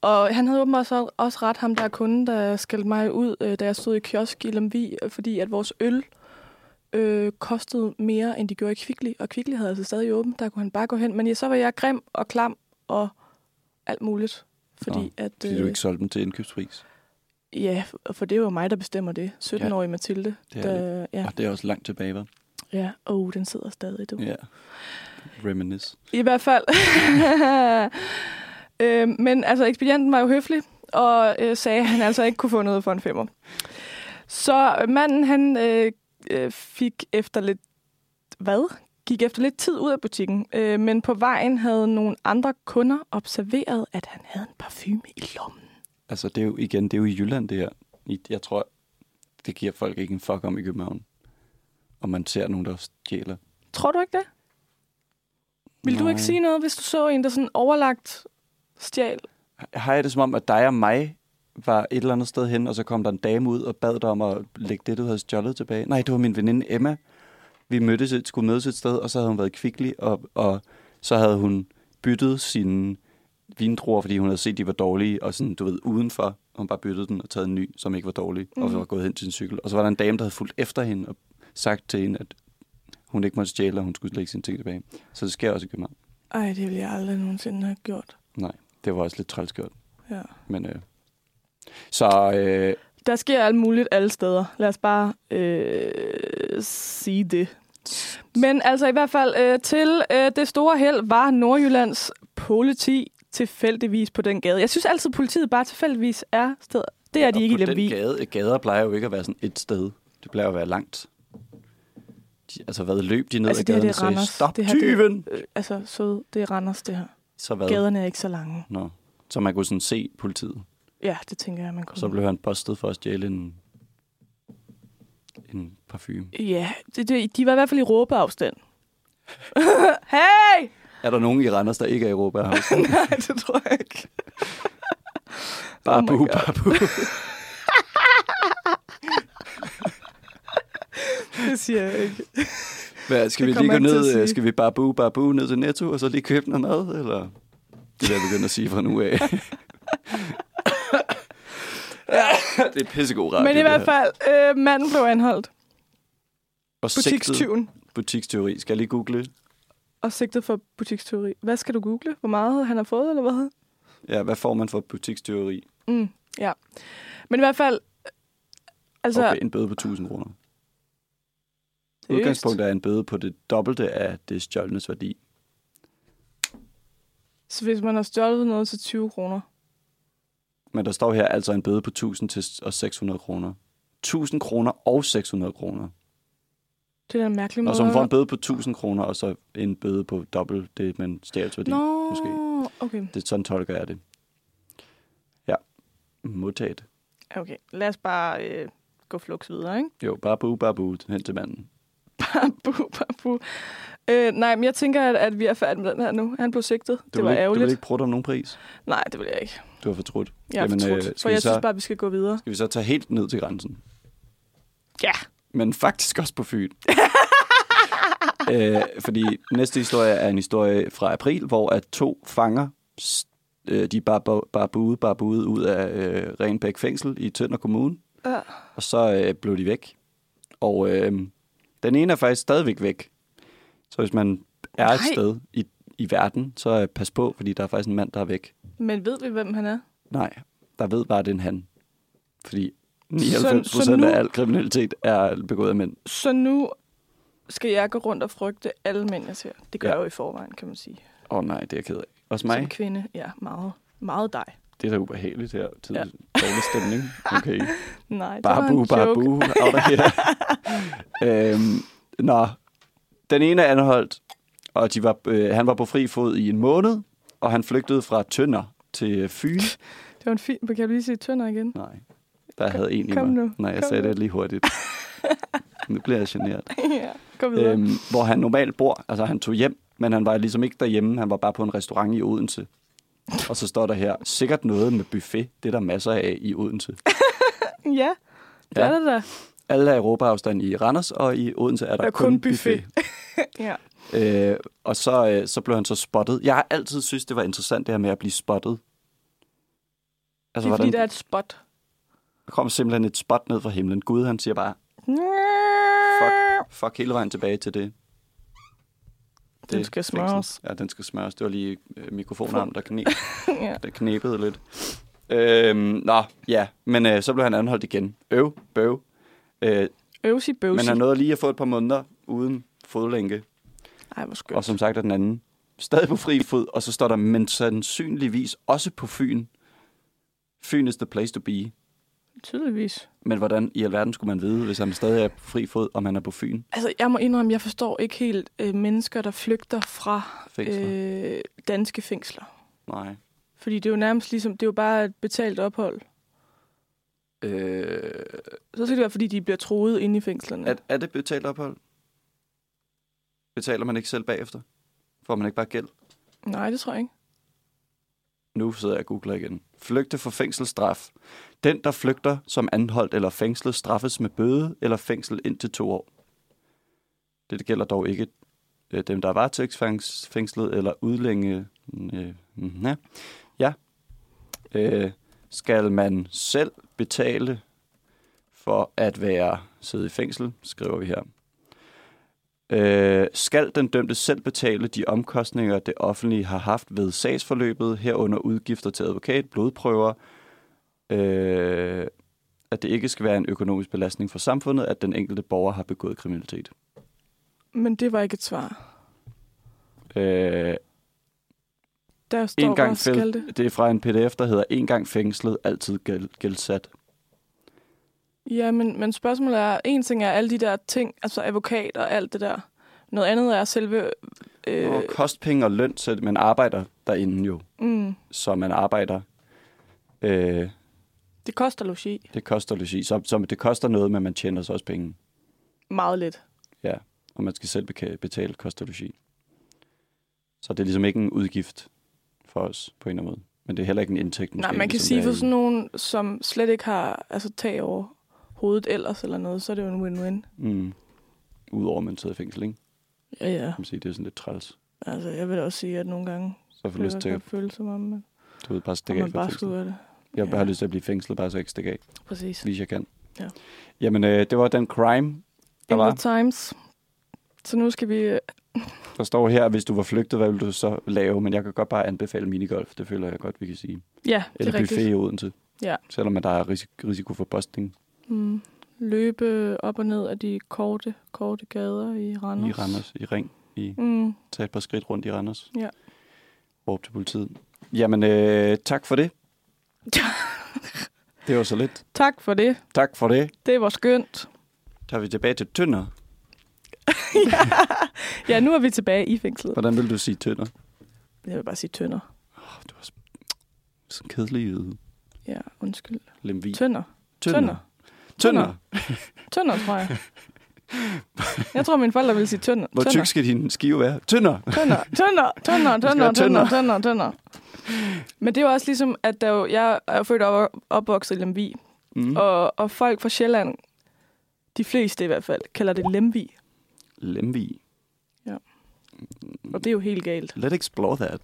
Og han havde åbenbart så også ret, ham der er kunden, der skældte mig ud, øh, da jeg stod i kiosk i Lemvi, øh, fordi at vores øl øh, kostede mere, end de gjorde i Kvickly. Og Kvickly havde altså stadig åben, der kunne han bare gå hen. Men ja, så var jeg grim og klam og alt muligt. Fordi
Nå,
at... øh,
Fordi du ikke solgte dem til indkøbspris.
Ja, f- for det er jo mig, der bestemmer det. 17-årige Mathilde.
Det er
der, ja,
Og det er også langt tilbage, hva'?
ja. Oh, den sidder stadig, du.
Ja. Reminisce.
I hvert fald. øhm, men altså, ekspedienten var jo høflig, og øh, sagde, at han altså ikke kunne få noget for en femmer. Så øh, manden, han øh, øh, fik efter lidt... Hvad? Gik efter lidt tid ud af butikken, øh, men på vejen havde nogle andre kunder observeret, at han havde en parfume i lommen.
Altså, det er jo igen, det er jo i Jylland, det her. I- Jeg tror, det giver folk ikke en fuck om i København. Og man ser nogen, der stjæler.
Tror du ikke det? Vil du
Nej.
ikke sige noget, hvis du så en, der sådan overlagt stjal?
Har jeg det som om, at dig og mig var et eller andet sted hen, og så kom der en dame ud og bad dig om at lægge det, du havde stjålet tilbage? Nej, det var min veninde Emma. Vi mødtes, et- skulle mødes et sted, og så havde hun været kvicklig, og, og så havde hun byttet sine vindruer, fordi hun havde set, de var dårlige, og sådan, du ved, udenfor. Hun bare byttede den og taget en ny, som ikke var dårlig, mm. og så var gået hen til sin cykel. Og så var der en dame, der havde fulgt efter hende og sagt til hende, at hun ikke måtte stjæle, og hun skulle lægge sine ting tilbage. Så det sker også i København.
Ej, det ville jeg aldrig nogensinde have gjort.
Nej, det var også lidt trælskørt.
Ja.
Men, øh. Så øh,
Der sker alt muligt alle steder. Lad os bare øh, sige det. Men altså i hvert fald øh, til øh, det store held var Nordjyllands politi tilfældigvis på den gade. Jeg synes altid, politiet bare tilfældigvis er steder. Det er de
og
ikke i
på den
Lemvig.
gade, gader plejer jo ikke at være sådan et sted. Det plejer at være langt. De, altså, hvad løb de ned
Altså,
ad
det her,
gaden og
det er
sagde,
Randers.
stop
Det her, det er-
tyven!
Øh, altså, så det er Randers, det her.
Så hvad?
Gaderne er ikke så lange.
Nå. Så man kunne sådan se politiet.
Ja, det tænker jeg, man kunne.
Så blev han postet for at stjæle en, en parfume.
Ja, det, det, de var i hvert fald i råbeafstand. hey!
Er der nogen i Randers, der ikke er i Europa?
Nej, det tror jeg ikke. Oh
Babu, Oh
God.
babu.
Det siger jeg ikke.
Hvad, skal vi
Det
lige gå
kommer jeg ikke til at
ned,
sige.
øh, skal vi babu, babu ned til Netto, og så lige købe noget mad, eller? Det er jeg begyndt at sige fra nu af. det er pissegod radio,
Men i
det
hvert
her.
fald, øh, manden blev anholdt.
Og sigtet-
Butikstyven.
Butikstyveri. Skal jeg lige google?
Og sigtet for butikstyveri. Hvad skal du google? Hvor meget han har fået, eller hvad?
Ja, hvad får man for butikstyveri?
Mm, ja. Men i hvert fald... øh, Altså,
Okay, en bøde på 1000 kroner.
seriøst.
Udgangspunktet er en bøde på det dobbelte af det stjålnes værdi.
Så hvis man har stjålet noget til 20 kroner.
Men der står her altså en bøde på 1000 til og 600 kroner. 1000 kroner og 600 kroner.
Det er da en mærkelig måde.
Og så man
at-
får en bøde på 1000 kroner, og så en bøde på dobbelt det, man stjal værdi.
Nå,
måske.
okay.
Det, sådan tolker jeg det. Ja. Modtaget.
Okay, lad os bare øh, gå flux videre, ikke?
Jo, babu, babu, hen til manden.
Babu, babu. Øh, nej, men jeg tænker, at, at vi er færdige med den her nu. Han blev sigtet.
Du
det
vil
var
ikke, Du
ærgerligt.
vil ikke prutte om nogen pris.
Nej, det vil jeg ikke.
Du har fortrudt.
Jeg er
Jamen, øh,
fortrudt,
skal
for
vi
jeg
så-
synes bare, vi skal gå videre.
Skal vi så tage helt ned til grænsen?
Ja.
Men faktisk også på Fyn. øh, fordi næste historie er en historie fra april, hvor at to fanger, s- øh, de er bare, bo- bare buede, bare buede ud af øh, Renbæk Fængsel i Tønder Kommune.
Ja.
Og så øh, blev de væk. Og øh, den ene er faktisk stadigvæk væk. Så hvis man er
Nej.
et sted i, i verden, så øh, pas på, fordi der er faktisk en mand, der er væk.
Men ved vi, hvem han er?
Nej, der ved bare, at det er en han. Fordi
så
99
nu-
af al kriminalitet er begået af mænd.
Så nu skal jeg gå rundt og frygte alle mænd, jeg ser. Det gør ja.
Ja.
jeg jo i forvejen, kan man sige.
Åh oh, nej, det er jeg ked af. Også
Som
mig.
kvinde, ja, meget. Meget dig.
Det er da ubehageligt her. Tid,
Ja.
ja. Dårlig stemning. Okay.
Nej, det var
Babu,
en joke.
babu. Out of here. øhm, nå. Den ene er anholdt, og de var, øh, han var på fri fod i en måned, og han flygtede fra Tønder til Fyn.
Det var en fin... Kan du lige sige tønder igen?
Nej, der havde en i
kom
mig.
nu,
Nej, jeg
kom
sagde
nu.
det lige hurtigt. Nu bliver jeg generet.
ja. Gå videre.
øhm, hvor han normalt bor. Altså, han tog hjem, men han var ligesom ikke derhjemme. Han var bare på en restaurant i Odense. Og så står der her, sikkert noget med buffet. Det er der masser af i Odense.
ja, det ja.
ja.
er det da.
Alle er i råbeafstand i Randers, og i Odense er der
Der er
kun,
kun
buffet.
Ja.
Øh, og så, øh, så blev han så spottet. Jeg har altid synes det var interessant, det her med at blive spottet.
Det
Altså,
er
hvordan
fordi,
der
der er et spot.
kom simpelthen et spot ned fra himlen. Gud, han siger bare, fuck, fuck hele vejen tilbage til det.
Den
Det
skal
fængsel.
smøres.
Ja, den skal smøres. Det var lige øh, mikrofonarmen, der knep.
ja.
Det knæbede lidt. Øhm, nå, ja. Men øh, så blev han anholdt igen. Øv, bøv. Øh,
Øvsig bøvsig.
men han nåede lige at få et par måneder uden fodlænke.
Ej, hvor skønt.
Og som sagt er den anden stadig på fri fod. Og så står der, men sandsynligvis også på Fyn. Fyn is the place to be.
Tydeligvis.
Men hvordan i alverden skulle man vide, hvis han stadig er på fri fod, om han er på Fyn?
Altså, jeg må indrømme, jeg forstår ikke helt øh, mennesker, der flygter fra
Fængsler? Øh...
øh, danske fængsler.
Nej.
Fordi det er jo nærmest ligesom, det er jo bare et betalt ophold.
Øh,
Så skal det være, fordi de bliver troet inde i fængslerne.
er, er det betalt ophold? Betaler man ikke selv bagefter? Får man ikke bare gæld?
Nej, det tror jeg ikke.
Nu sidder jeg og googler igen. Flygte for fængselsstraf. Den, der flygter som anholdt eller fængslet, straffes med bøde eller fængsel indtil to år. Det gælder dog ikke øh, dem, der er varetægtsfængslet eller udlænge. Øh, mhm, ja. ja. Øh, skal man selv betale for at være sidde i fængsel, skriver vi her. Øh, skal den dømte selv betale de omkostninger, det offentlige har haft ved sagsforløbet, herunder udgifter til advokat, blodprøver, øh, at det ikke skal være en økonomisk belastning for samfundet, at den enkelte borger har begået kriminalitet.
Men det var ikke et svar.
Øh,
Der står
en
bare,
gang
skal det.
fæl- det er fra en pdf, der hedder En gang fængslet, altid gæld- gældsat.
Ja, men, men spørgsmålet er, en ting er alle de der ting, altså advokat og alt det der. Noget andet er selve... Øh,
Og kostpenge og løn, så man arbejder derinde jo.
mm,
Så man arbejder... Øh,
det koster logi
det koster logi. Så, så det koster noget, men man tjener så også penge.
meget lidt.
Ja, og man skal selv beka- betale kost og logi. Så det er ligesom ikke en udgift for os på en eller anden måde. Men det er heller ikke en indtægt.
Nej,
måske,
man kan
ligesom
sige
det er
for
i-
sådan nogen, som slet ikke har altså, tag over hovedet ellers eller noget, så er det jo en win-win.
Mm, Udover at man sidder i fængsel, ikke?
Ja, ja.
Kan man sige, det er sådan lidt træls.
Altså, jeg vil da også sige, at nogle gange
Så får
kan
lyst
det
til
godt
at
føles som om, at
du ved, bare
at
stikke af
man
fra
bare
fængsel.
skulle gøre det.
Jeg har
Ja.
bare lyst til at blive fængslet, bare så jeg ikke stikker af,
Præcis.
hvis jeg kan.
Ja.
Jamen, øh, det var den crime, der
In
var.
the Times. Så nu skal vi... øh,
Der står her, hvis du var flygtet, hvad ville du så lave? Men jeg kan godt bare anbefale minigolf, det føler jeg godt, vi kan sige.
Ja, det
Eller
er rigtigt.
buffet i Odense.
Ja.
Selvom at der er risik- risiko for bostning
Mm. Løbe op og ned af de korte, korte gader i Randers.
i Randers, i Ring, i
Mm.
tage et par skridt rundt i Randers.
Ja.
Råb til politiet. Jamen, øh, tak for det. det var så lidt.
Tak for det.
Tak for det.
Det var skønt.
Tager vi tilbage til tønder.
Ja, nu er vi tilbage i fængslet.
Hvordan vil du sige tønder?
Jeg vil bare sige tønder.
Oh, du er sp- sådan kedelig jøde.
Ja, undskyld.
Lemvig.
Tønder.
Tønder.
Tønder. Tønder, tror jeg. Jeg tror, mine forældre ville sige tønder.
Hvor tyk skal din skive være? Tønder.
Tønder, tønder, tønder,
skal
tønder,
være
tønder,
tønder.
tønder, tønder. Men det er jo også ligesom, at der jo, jeg er født og opvokset i Lemvi,
Mm.
og, og folk fra Sjælland, de fleste i hvert fald, kalder det Lemvi,
Lemvig.
og det er jo helt galt.
Let's explore that.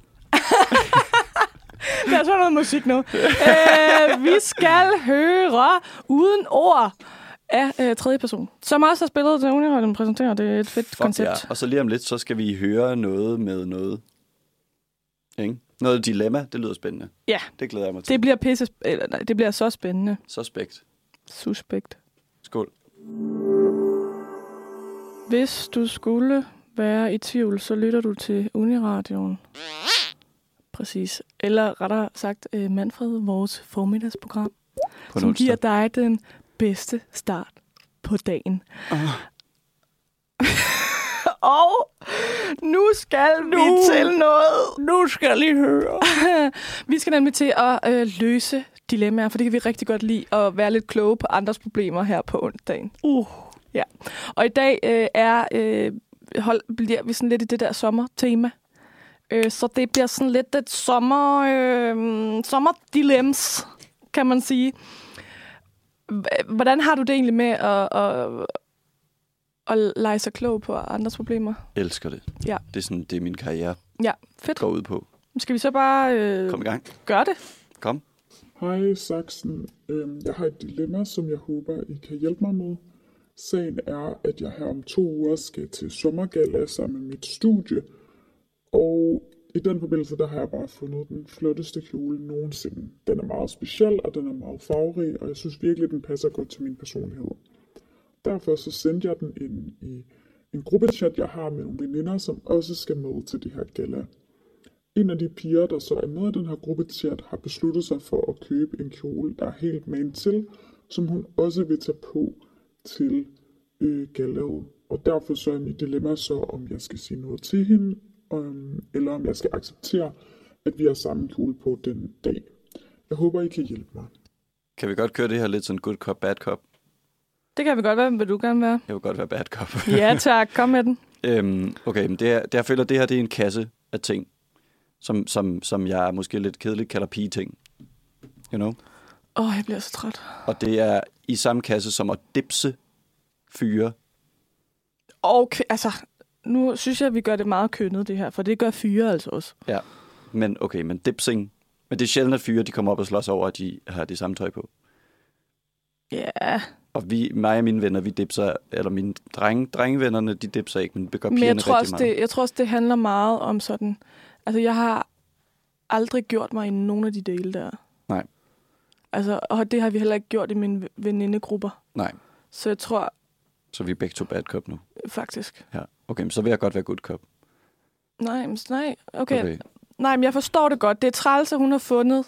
Der er så noget musik nu. Æ, vi skal høre Uden Ord af øh, tredje person, som også har spillet til Uniradion præsenterer. Det er et fedt
Fuck
koncept.
Ja. Og så lige om lidt, så skal vi høre noget med noget. Ikke? Noget dilemma. Det lyder spændende.
Ja.
Det glæder jeg mig til.
Det bliver pisse, eller, nej, det bliver så spændende.
Suspekt.
Suspekt.
Skål.
Hvis du skulle være i tvivl, så lytter du til Uniradioen. Præcis. Eller rettere sagt, øh, Manfred, vores formiddagsprogram,
På en
som
onsdag.
giver dig den bedste start på dagen.
Ah.
Og nu skal nu. vi til noget. Nu skal I høre. vi skal nemlig til at øh, løse dilemmaer, for det kan vi rigtig godt lide, at være lidt kloge på andres problemer her på onsdagen. Uh. Ja. Og i dag øh, er, øh, hold, bliver vi sådan lidt i det der sommertema. Øh, så det bliver sådan lidt et sommer, øh, sommerdilems, kan man sige. H- Hvordan har du det egentlig med at, at, at lege sig klog på andres problemer?
Elsker det.
Ja.
Det er sådan, det er min karriere
Ja, fedt.
går ud på.
Skal vi så bare øh,
Kom i gang.
gøre det?
Kom.
Hej Saxen, Øhm, jeg har et dilemma, som jeg håber, I kan hjælpe mig med. Sagen er, at jeg her om to uger skal til sommergala sammen med mit studie, og i den forbindelse, der har jeg bare fundet den flotteste kjole nogensinde. Den er meget speciel, og den er meget farverig, og jeg synes virkelig, den passer godt til min personlighed. Derfor så sendte jeg den ind i en gruppechat, jeg har med nogle veninder, som også skal med til det her gala. En af de piger, der så er med i den her gruppechat, har besluttet sig for at købe en kjole, der er helt man til, som hun også vil tage på til øh, galaet. Og derfor så er mit dilemma så, om jeg skal sige noget til hende, øhm, eller om jeg skal acceptere, at vi har samme kjole på den dag. Jeg håber, I kan hjælpe mig.
Kan vi godt køre det her lidt sådan good cop, bad cop?
Det kan vi godt være. Hvem vil du gerne være?
Jeg vil godt være bad cop.
Ja tak, kom med den.
Øhm, okay, men det er, det, jeg føler, det her det er en kasse af ting, som, som, som jeg måske lidt kedeligt kalder pigeting. You know?
Åh, oh, jeg bliver så træt.
Og det er i samme kasse som at dipse fyre.
Okay, altså, nu synes jeg, at vi gør det meget kønnet, det her, for det gør fyre altså også.
Ja. Men okay, men dipsing. Men det er sjældent, at fyre de kommer op og slås over, at de har det samme tøj på.
Ja,
Og vi, mig og mine venner, vi dipser, eller mine drenge, drengevennerne, de dipser ikke, men det gør
men
pigerne
jeg tror,
rigtig
også,
meget.
det, jeg tror også, det handler meget om sådan... Altså, jeg har aldrig gjort mig i nogen af de dele der.
Nej.
Altså, og det har vi heller ikke gjort i mine venindegrupper.
Nej,
Så jeg tror
så vi er begge to bad cop nu.
faktisk...
Ja. Okay, men så vil jeg godt være good cop.
Nej, men, nej, okay. okay. Nej, men jeg forstår det godt. Det er træls, at hun har fundet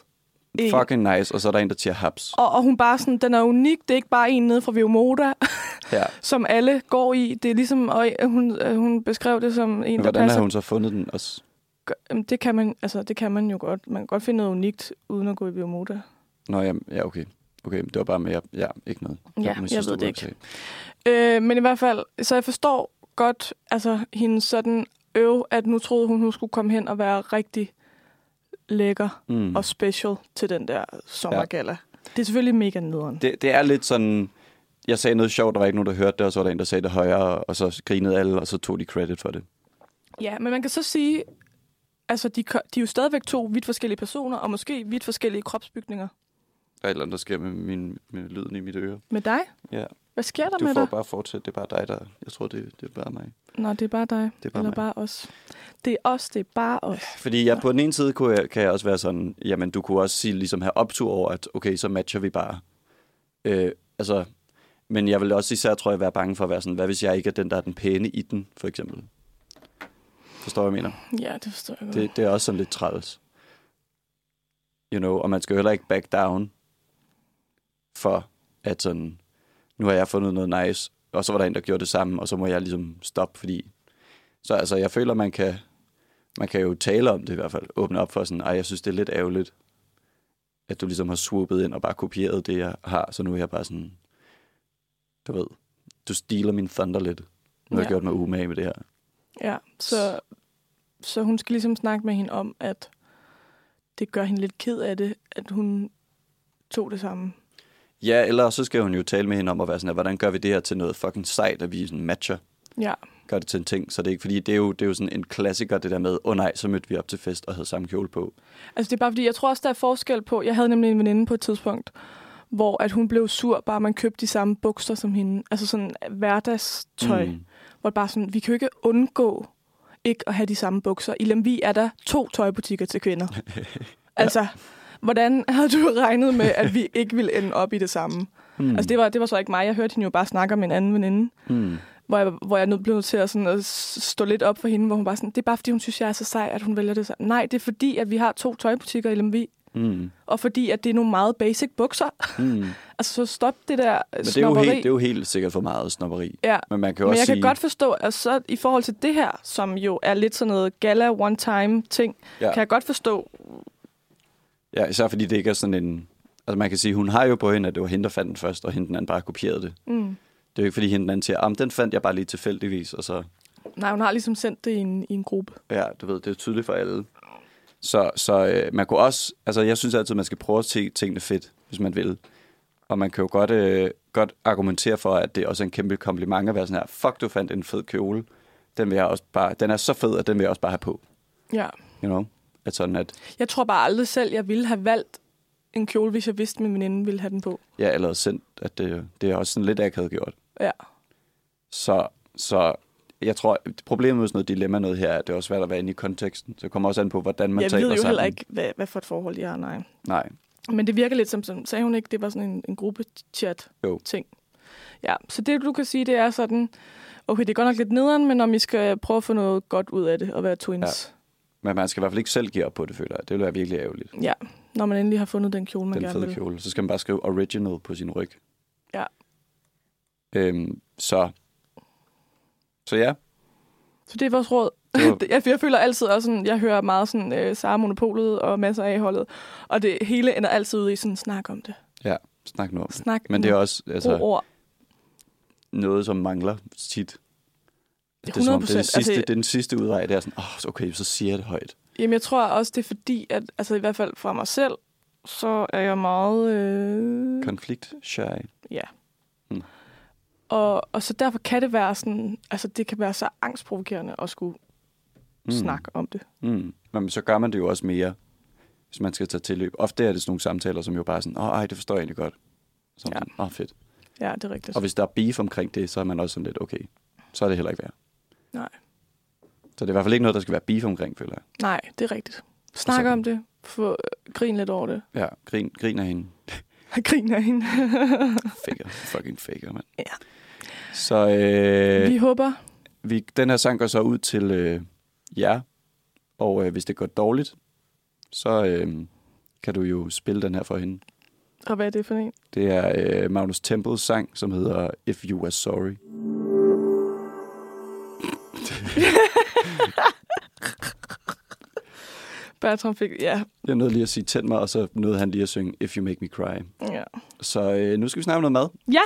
en.
Fucking nice, og så er der en, der siger haps.
Og, og hun bare sådan, den er unik. Det er ikke bare en nede fra Viomoda,
Ja.
som alle går i. Det er ligesom, og hun, øh, hun beskrev det som en,
Men
der
hvordan
passer
har hun så fundet den også?
Gør- Jamen, det kan man, altså, det kan man jo godt. Man kan godt finde noget unikt, uden at gå i biomoda.
Nå, ja, ja okay. Okay, det var bare med, ja, ja ikke noget.
Ja,
men
jeg ved
du
det
var
ikke.
okay.
Øh, men i hvert fald, så jeg forstår godt, altså, hendes sådan øv, at nu troede hun, hun skulle komme hen og være rigtig lækker
Mm.
og special til den der sommergala. Ja. Det er selvfølgelig mega nederen.
Det, det er lidt sådan, jeg sagde noget sjovt, der var ikke nogen, der hørte det, og så var der en, der sagde det højere, og så grinede alle, og så tog de credit for det.
Ja, men man kan så sige, altså, de, ko- de er jo stadigvæk to vidt forskellige personer, og måske vidt forskellige kropsbygninger.
Der er et eller andet, der sker med, min, med lyden i mit øre.
Med dig?
Ja,
Hvad sker der
du
med
får
dig?
bare fortsætte. Det er bare dig, der... Jeg tror, det, det er bare mig.
Nå, det er bare dig.
Det er bare
Eller
mig.
bare os. Det er os, det er bare os.
Fordi jeg, på den ene side kunne jeg, kan jeg også være sådan, jamen du kunne også sige, ligesom have optur over, at okay, så matcher vi bare. Øh, altså, men jeg vil også især, tror jeg, være bange for at være sådan, hvad hvis jeg ikke er den, der er den pæne i den, for eksempel. Forstår du, hvad jeg mener?
Ja, det forstår jeg godt.
Det, det er også sådan lidt træls. You know, og man skal jo heller ikke back down for at sådan, nu har jeg fundet noget nice, og så var der en, der gjorde det samme, og så må jeg ligesom stoppe, fordi... Så altså, jeg føler, man kan, man kan jo tale om det i hvert fald, åbne op for sådan, ej, jeg synes, det er lidt ærgerligt, at du ligesom har swoopet ind og bare kopieret det, jeg har, så nu er jeg bare sådan, du ved, du stiler min thunder lidt. Nu har jeg
Ja.
gjort mig umage med det her.
Ja, så, så hun skal ligesom snakke med hende om, at det gør hende lidt ked af det, at hun tog det samme.
Ja, eller så skal hun jo tale med hende om at være sådan, at, hvordan gør vi det her til noget fucking sejt, at vi sådan matcher,
Ja,
gør det til en ting. Så det er ikke, fordi det er jo, det er jo sådan en klassiker, det der med, åh oh, nej, så mødte vi op til fest og havde samme kjole på.
altså det er bare fordi, jeg tror også, der er forskel på, jeg havde nemlig en veninde på et tidspunkt, hvor at hun blev sur, bare man købte de samme bukser som hende. Altså sådan hverdagstøj, mm. hvor det bare sådan, vi kan jo ikke undgå ikke at have de samme bukser. I Lemvi er der to tøjbutikker til kvinder. altså, hvordan havde du regnet med, at vi ikke ville ende op i det samme?
Mm.
Altså, det var, det var så ikke mig. Jeg hørte hende jo bare snakke om en anden veninde,
mm.
hvor jeg, hvor jeg nødt blev nødt til at, sådan, at s- stå lidt op for hende, hvor hun bare sådan, det er bare fordi, hun synes, jeg er så sej, at hun vælger det så. Nej, det er fordi, at vi har to tøjbutikker i Lemvi,
Mm.
og fordi, at det er nogle meget basic bukser.
Mm.
altså, så stop det der
Men
Men
det er, jo
snobberi.
helt, det er jo helt sikkert for meget snopperi.
Ja,
Men man kan jo
men
også
jeg
sige,
kan godt forstå, at så i forhold til det her, som jo er lidt sådan noget gala one-time ting,
Ja.
ja. kan jeg godt forstå.
ja, især fordi det ikke er sådan en... Altså man kan sige, hun har jo på hende, at det var hende, der fandt den først, og hende den anden bare kopierede det.
Mm.
Det Det er jo ikke, fordi hende den anden siger, "Ah, men den fandt jeg bare lige tilfældigvis, og så
Nej, hun har ligesom sendt det i en, i en gruppe.
Ja, du ved, det er tydeligt for alle. Så, så øh, man kunne også, altså jeg synes altid, man skal prøve at se tingene fedt, hvis man vil. Og man kan jo godt, øh, godt argumentere for, at det er også en kæmpe kompliment at være sådan her, fuck, du fandt en fed kjole. Den, vil jeg også bare, den er så fed, at den vil jeg også bare have på.
Ja.
You know? At sådan at,
Jeg tror bare aldrig selv, jeg ville have valgt en kjole, hvis jeg vidste, min veninde ville have den på.
jeg allerede sendt, at det, det er også sådan lidt, jeg havde gjort.
Ja.
Så, så jeg tror, problemet med sådan noget dilemma noget her, er, at det er også svært at være inde i konteksten. Så det kommer også an på, hvordan man
jeg
taler
ved jo
sammen.
heller ikke, hvad, hvad for et forhold jeg har, nej.
Nej,
Men det virker lidt som, som sagde hun ikke, det var sådan en, en
Jo.
gruppe-chat-ting. Ja, så det du kan sige, det er sådan, okay, det er godt nok lidt nederen, men om I skal prøve at få noget godt ud af det og være twins.
men man skal i hvert fald ikke selv give op på det, føler jeg. Det ville være virkelig ærgerligt.
Ja. ja. Når man endelig har fundet den kjole, man
den
gerne
fede
vil.
kjole. Så skal man bare skrive original på sin ryg.
Ja.
Øhm, så. Så ja.
Så det er vores råd.
Det var-
Det- jeg, jeg føler altid også sådan, jeg hører meget sådan øh, Sara Monopolet og masser af holdet, og det hele ender altid ud i sådan, snak om det.
Ja, snak nu om det.
Snak
Men det er også
altså,
altså,
ord.
noget, som mangler tit. Det er, som om, det er,
100%,
den sidste,
altså- Mm.
det er den sidste udvej. Det er sådan, åh, oh, okay, så siger jeg det højt.
Jamen, jeg tror også, det er fordi, at altså, i hvert fald fra mig selv, så er jeg meget... Øh,
Konflikt, shy.
ja.
Mm.
Og, og så derfor kan det være sådan... Altså, det kan være så angstprovokerende at skulle mm. snakke om det.
Mm. Men så gør man det jo også mere, hvis man skal tage tilløb. Ofte er det sådan nogle samtaler, som jo bare er sådan, åh, oh, ej, det forstår jeg egentlig godt. Så
Ja.
ja. åh, oh, fedt.
Ja, det er rigtigt.
Og hvis der er beef omkring det, så er man også sådan lidt, okay, så er det heller ikke værd.
Nej.
Så det er i hvert fald ikke noget, der skal være beef omkring, føler jeg.
Nej, det er rigtigt. Snak
så-
om det. Få, øh, grin lidt over det.
Ja, grin, grin af hende.
Grin af hende.
Faker. Fucking faker, mand.
Ja.
Så øh,
Vi håber...
vi, den her sang går så ud til øh, jer. Og øh, hvis det går dårligt, så øh, kan du jo spille den her for hende.
Og hvad er det for en?
Det er øh, Magnus Tempels sang, som hedder If You Are Sorry.
Bertram fik... Ja.
Jeg nåede lige at sige tænd mig, og så nåede han lige at synge If You Make Me Cry.
Ja.
Så øh, nu skal vi snakke om noget mad.
ja.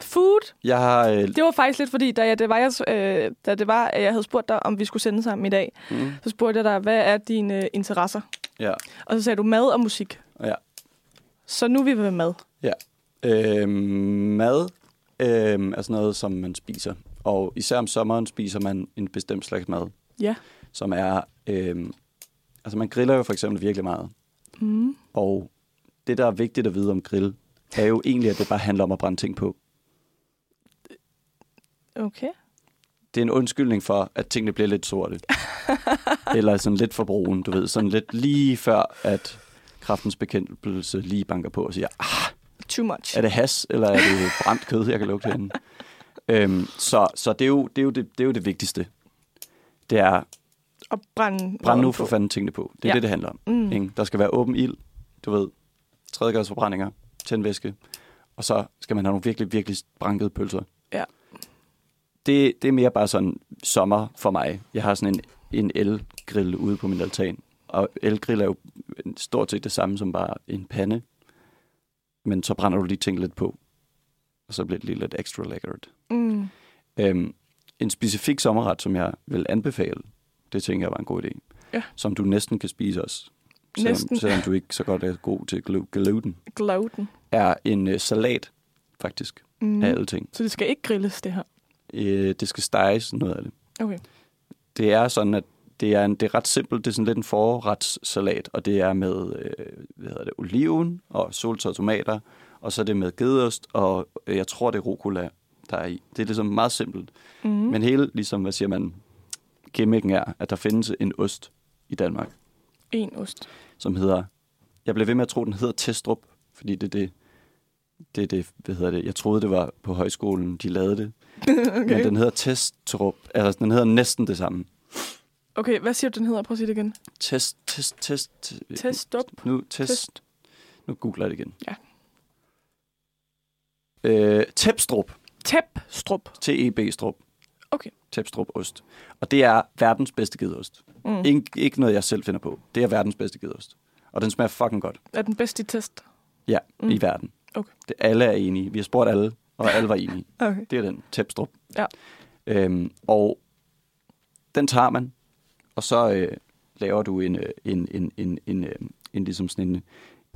Food.
Jeg har... Øh,
Det var faktisk lidt fordi, da, jeg, det var, jeg, øh, da det var, at jeg havde spurgt dig, om vi skulle sende sammen i dag,
mm,
så spurgte jeg dig, hvad er dine øh, interesser?
ja,
Og så sagde du mad og musik.
ja.
Så nu er vi ved mad.
Øh, mad øh, er sådan noget, som man spiser. Og især om sommeren spiser man en bestemt slags mad.
Ja.
Som er... Øh, altså man griller jo for eksempel virkelig meget.
Mm.
Og det, der er vigtigt at vide om grill, er jo egentlig, at det bare handler om at brænde ting på.
Okay.
Det er en undskyldning for, at tingene bliver lidt sorte. Eller sådan lidt for brune, du ved. Sådan lidt lige før, at kraftens bekæmpelse lige banker på og siger,
Too much.
Er det has, eller er det brændt kød, jeg kan lugte herinde? Øhm, så så det, er jo, det, er jo det, det er jo det vigtigste. Det er,
Og brænde.
brænd nu
maden
for
på.
fanden tingene på. Det er
Ja.
ja. det, det handler om.
Mm.
Ikke? Der skal være åben ild, du ved, tredjegradsforbrændinger, tændvæske, og så skal man have nogle virkelig, virkelig brankede pølser.
Ja.
Det, det er mere bare sådan sommer for mig. Jeg har sådan en, en elgrill ude på min altan, og elgrill er jo stort set det samme som bare en pande, men så brænder du lige ting lidt på, og så bliver det lige lidt ekstra lækkert.
Mm.
Øhm, en specifik sommerret, som jeg vil anbefale, det tænker jeg var en god idé,
Ja.
som du næsten kan spise også,
Næsten.
selvom, selvom du ikke så godt er god til glu- gluten,
Glauten.
er en øh, salat, faktisk,
Mm.
mm. af alle ting.
Så det skal ikke grilles, det her.
Øh, det skal steges noget af det.
Okay.
Det er sådan, at det er, en, det er ret simpelt. Det er sådan lidt en forretssalat, og det er med øh, hvad hedder det, oliven og soltørrede og tomater, og så er det med gedeost, og øh, jeg tror, det er rucola, der er i. Det er ligesom meget simpelt.
Mm. Men...
Men hele, ligesom, hvad siger man, gimmicken er, at der findes en ost i Danmark,
En ost.
som hedder, jeg blev ved med at tro, den hedder Testrup, fordi det er det, det, er det hvad hedder det, jeg troede, det var på højskolen, de lavede det. Okay. Men den hedder Testrup, altså den hedder næsten det samme.
Okay, hvad siger du, den hedder? Prøv at sige det igen.
Test, test, test.
Test op.
Nu, test.
Test.
test. Nu googler jeg det igen.
Ja.
Øh, Tepstrup.
Tæpstrup.
T-E-B-strup.
Okay.
Tepstrup ost. Og det er verdens bedste gedeost.
Mm.
Ikke, ikke noget, jeg selv finder på. Det er verdens bedste gedeost. Og den smager fucking godt
Er den bedste i test?
ja,
Mm.
mm. i verden.
Okay.
Det, alle er enige. Vi har spurgt alle. og alle var enige.
Okay.
Det er den, Tepstrup.
Ja.
Øhm, og den tager man, og så øh, laver du en, øh, en, en, en, en, øh, en, ligesom sådan en,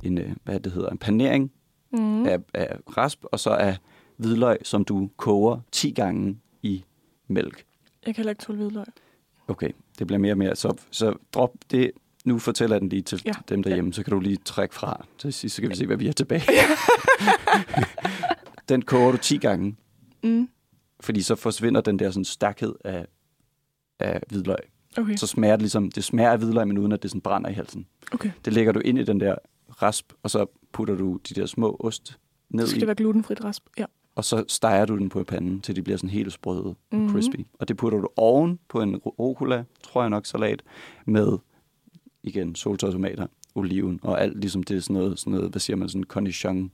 en, øh, hvad det hedder, en panering mm. af, af rasp, og så af hvidløg, som du koger 10 gange i mælk.
Jeg kan heller ikke tåle hvidløg.
Okay, det bliver mere og mere. Så, så drop det. Nu fortæller jeg den lige til ja.
Ja.
dem derhjemme, så kan du lige trække fra. Til sidst så kan vi se, hvad vi har tilbage. den koger du 10 gange,
Mm.
fordi så forsvinder den der sådan stærkhed af, af hvidløg.
Okay.
Så smager det ligesom, det smager af hvidløg, men uden at det sådan brænder i halsen.
okay.
Det lægger du ind i den der rasp, og så putter du de der små ost ned
Så skal
i,
det være glutenfrit rasp. Ja.
og så steger du den på panden, til de bliver sådan helt sprøde mm-hmm.
Mhm.
crispy. Og det putter du oven på en rucola, tror jeg nok, salat, med, igen, soltørrede tomater, oliven og alt, ligesom det er sådan noget, sådan noget hvad siger man, sådan cornichon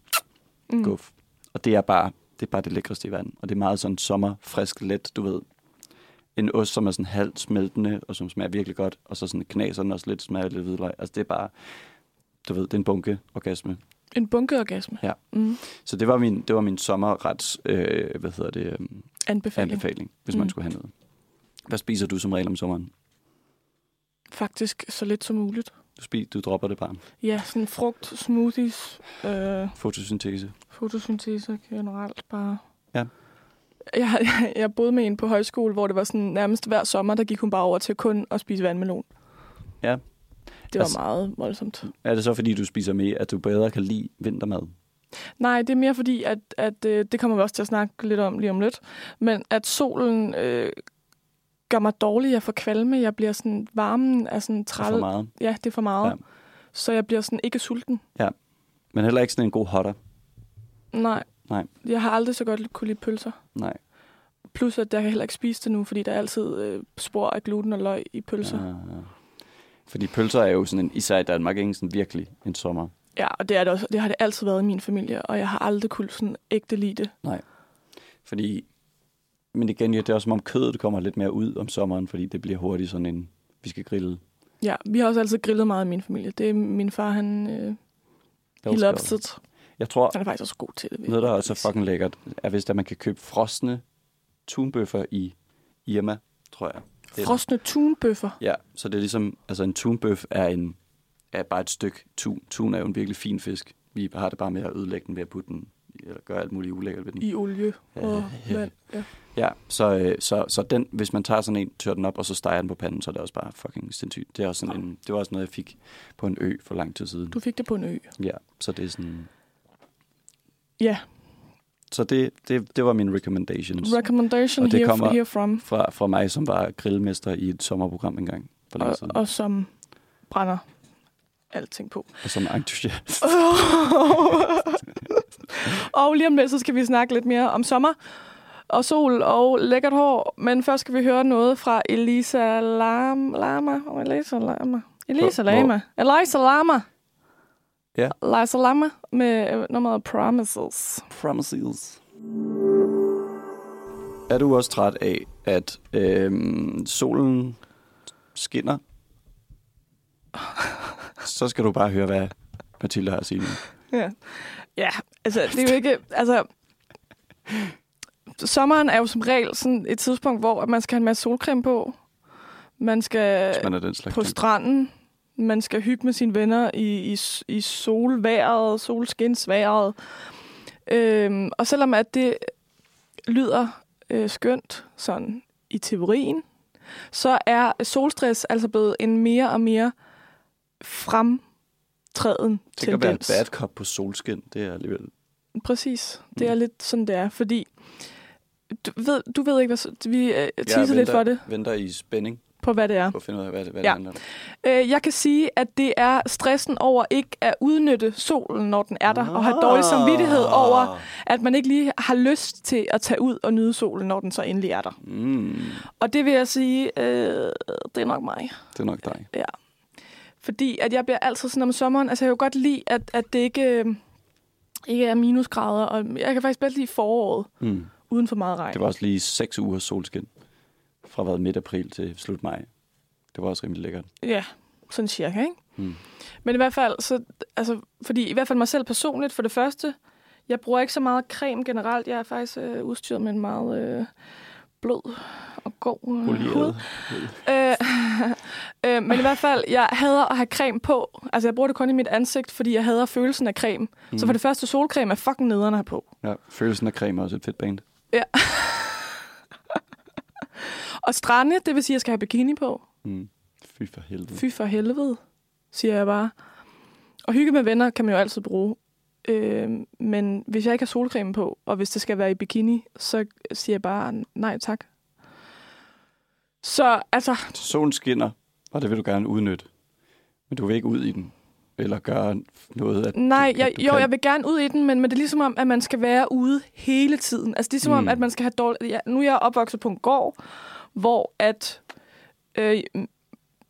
Mm.
guf. Og det er bare det er bare det lækreste i verden. Og det er meget sådan sommer, frisk, let, du ved. En ost, som er sådan halvt smeltende, og som smager virkelig godt, og så sådan knaser den også lidt, smager lidt hvidløg. Altså det er bare, du ved, det er en bunke orgasme.
En bunkeorgasme.
Ja.
Mm.
Så det var min, det var min sommerrets, øh, hvad hedder det, øhm,
Anbefaling.
anbefaling, hvis man
Mm.
skulle have noget. Hvad spiser du som regel om sommeren?
Faktisk så lidt som muligt.
Du, spiser, du dropper det bare.
Ja, sådan frugt, smoothies, øh,
Fotosyntese.
fotosyntese generelt bare.
Ja.
Jeg, jeg, jeg boede med en på højskole, hvor det var sådan nærmest hver sommer, der gik hun bare over til kun at spise vandmelon.
Ja.
Det var
Altså-
altså, meget voldsomt.
Er det så, fordi du spiser mere, at du bedre kan lide vintermad?
Nej, det er mere fordi, at, at øh, det kommer vi også til at snakke lidt om lige om lidt, men at solen øh, gør mig dårlig, jeg får kvalme, jeg bliver sådan, varmen er sådan
Og for
træl.
meget?
Ja, det er for meget.
Ja.
Ja. Så jeg bliver sådan ikke sulten.
Men heller ikke sådan en god hotter.
Nej.
Nej.
Jeg har aldrig så godt kunne lide pølser.
Nej.
Plus, at jeg kan heller ikke spise det nu, fordi der er altid øh, spor af gluten og løg i pølser. Ja.
Ah. Fordi pølser er jo sådan en, især i Danmark, ikke sådan virkelig en sommer.
ja, og det, er det, også, det har det altid været i min familie, og jeg har aldrig kunnet sådan ægte lide det.
Fordi, men igen, ja, det er også som om kødet kommer lidt mere ud om sommeren, fordi det bliver hurtigt sådan en, vi skal grille.
Ja, vi har også altid grillet meget i min familie. Det er min far, han... Øh, he
elsker
loves
det.
it.
Jeg tror,
Han er faktisk også god til det. vil
Noget, der er
jeg
også er
sige.
fucking lækkert, er hvis der man kan købe frosne tunbøffer i Irma, tror jeg. Det er-
Frosne tunbøffer.
Ja, så det er ligesom, altså en tunbøf er, en, er bare et stykke tun. Tun er jo en virkelig fin fisk. Vi har det bare med at ødelægge den ved at putte den, eller gøre alt muligt ulækkert ved den.
i olie og vand. Ja.
Ja, så, øh, så, så den, hvis man tager sådan en, tør den op, og så steger den på panden, så er det også bare fucking sindssygt. Det, er også sådan en, det var også noget, jeg fik på en ø for lang tid siden.
Du fik det på en ø.
Ja, så det er sådan...
Ja,
Så det, det, det var mine recommendations.
recommendation
Og det
here,
kommer-
kommer... here from,
fra, fra mig, som var grillmester i et sommerprogram engang for længe
og,
siden, og,
og som brænder alting på.
og som entusiast.
og lige om lidt, så skal vi snakke lidt mere om sommer og sol og lækkert hår. Men først skal vi høre noget fra Elisa Lam, Lama. Oh, Elisa Lama. Elisa
Hvor-
Lama. Elisa Lama.
Ja.
Elisa Lama med øh, nummeret Promises.
Promises. Er du også træt af, at øhm, solen skinner? Så skal du bare høre, hvad Mathilde har at sige nu.
Ja. ja, altså det er jo ikke... Altså, sommeren er jo som regel sådan et tidspunkt, hvor at man skal have en masse solcreme på. Man skal
Hvis man er den slags.
på
type.
stranden. Man skal hygge med sine venner i, i, i solværet, solskinsværet. Øhm, og selvom at det lyder øh, skønt sådan i teorien, så er solstress altså blevet en mere og mere fremtræden
Tænk at være en
tendens.
bad cop på solskin. Det er alligevel...
Præcis. Det
Mm.
er lidt sådan, det er, fordi... Du ved, du ved ikke, hvad... så- Vi øh,
Jeg
teaser lidt for det,
venter i spænding
på hvad det er.
på at finde ud af, hvad det, hvad
Ja.
det handler om.
Øh, jeg kan sige, at det er stressen over ikke at udnytte solen, når den er der, og have dårlig samvittighed
Ah.
over, at man ikke lige har lyst til at tage ud og nyde solen, når den så endelig er der.
Mm,
Og det vil jeg sige, øh, det er nok mig.
det er nok dig.
Ja. Fordi at jeg bliver altid sådan om sommeren, altså jeg kan jo godt lide, at, at det ikke, øh, ikke er minusgrader, og jeg kan faktisk bedst lide foråret,
Mm.
uden for meget regn.
Det var også lige seks uger solskin. Fra hvad, midt april til slut maj. Det var også rimelig lækkert.
Ja, sådan cirka, ikke?
Mm.
Men i hvert fald, så, altså, fordi i hvert fald mig selv personligt, for det første, Jeg bruger ikke så meget creme generelt. Jeg er faktisk øh, udstyret med en meget øh, blød og god øh, hud.
Olieret.
Øh, øh, men i hvert fald, jeg hader at have creme på. Altså, jeg bruger det kun i mit ansigt, fordi jeg hader følelsen af creme. Mm. Så for det første, solcreme er fucking nederen at have på.
Ja, følelsen af creme er også et fedt band.
Og strande, det vil sige, at jeg skal have bikini på.
Mm. Fy for helvede.
Fy for helvede, siger jeg bare. Og hygge med venner kan man jo altid bruge. Øh, men hvis jeg ikke har solcreme på, og hvis det skal være i bikini, så siger jeg bare nej tak. Så altså,
Solen skinner, og det vil du gerne udnytte. Men du vil ikke ud i den. Eller gøre noget, at
nej,
du,
jeg,
at du
jo,
kan.
jeg vil gerne ud i den, men, men det er ligesom om, at man skal være ude hele tiden. Altså det er som mm. om,
Mm.
at man skal have dårligt... Ja, nu er jeg opvokset på en gård, hvor at... Øh,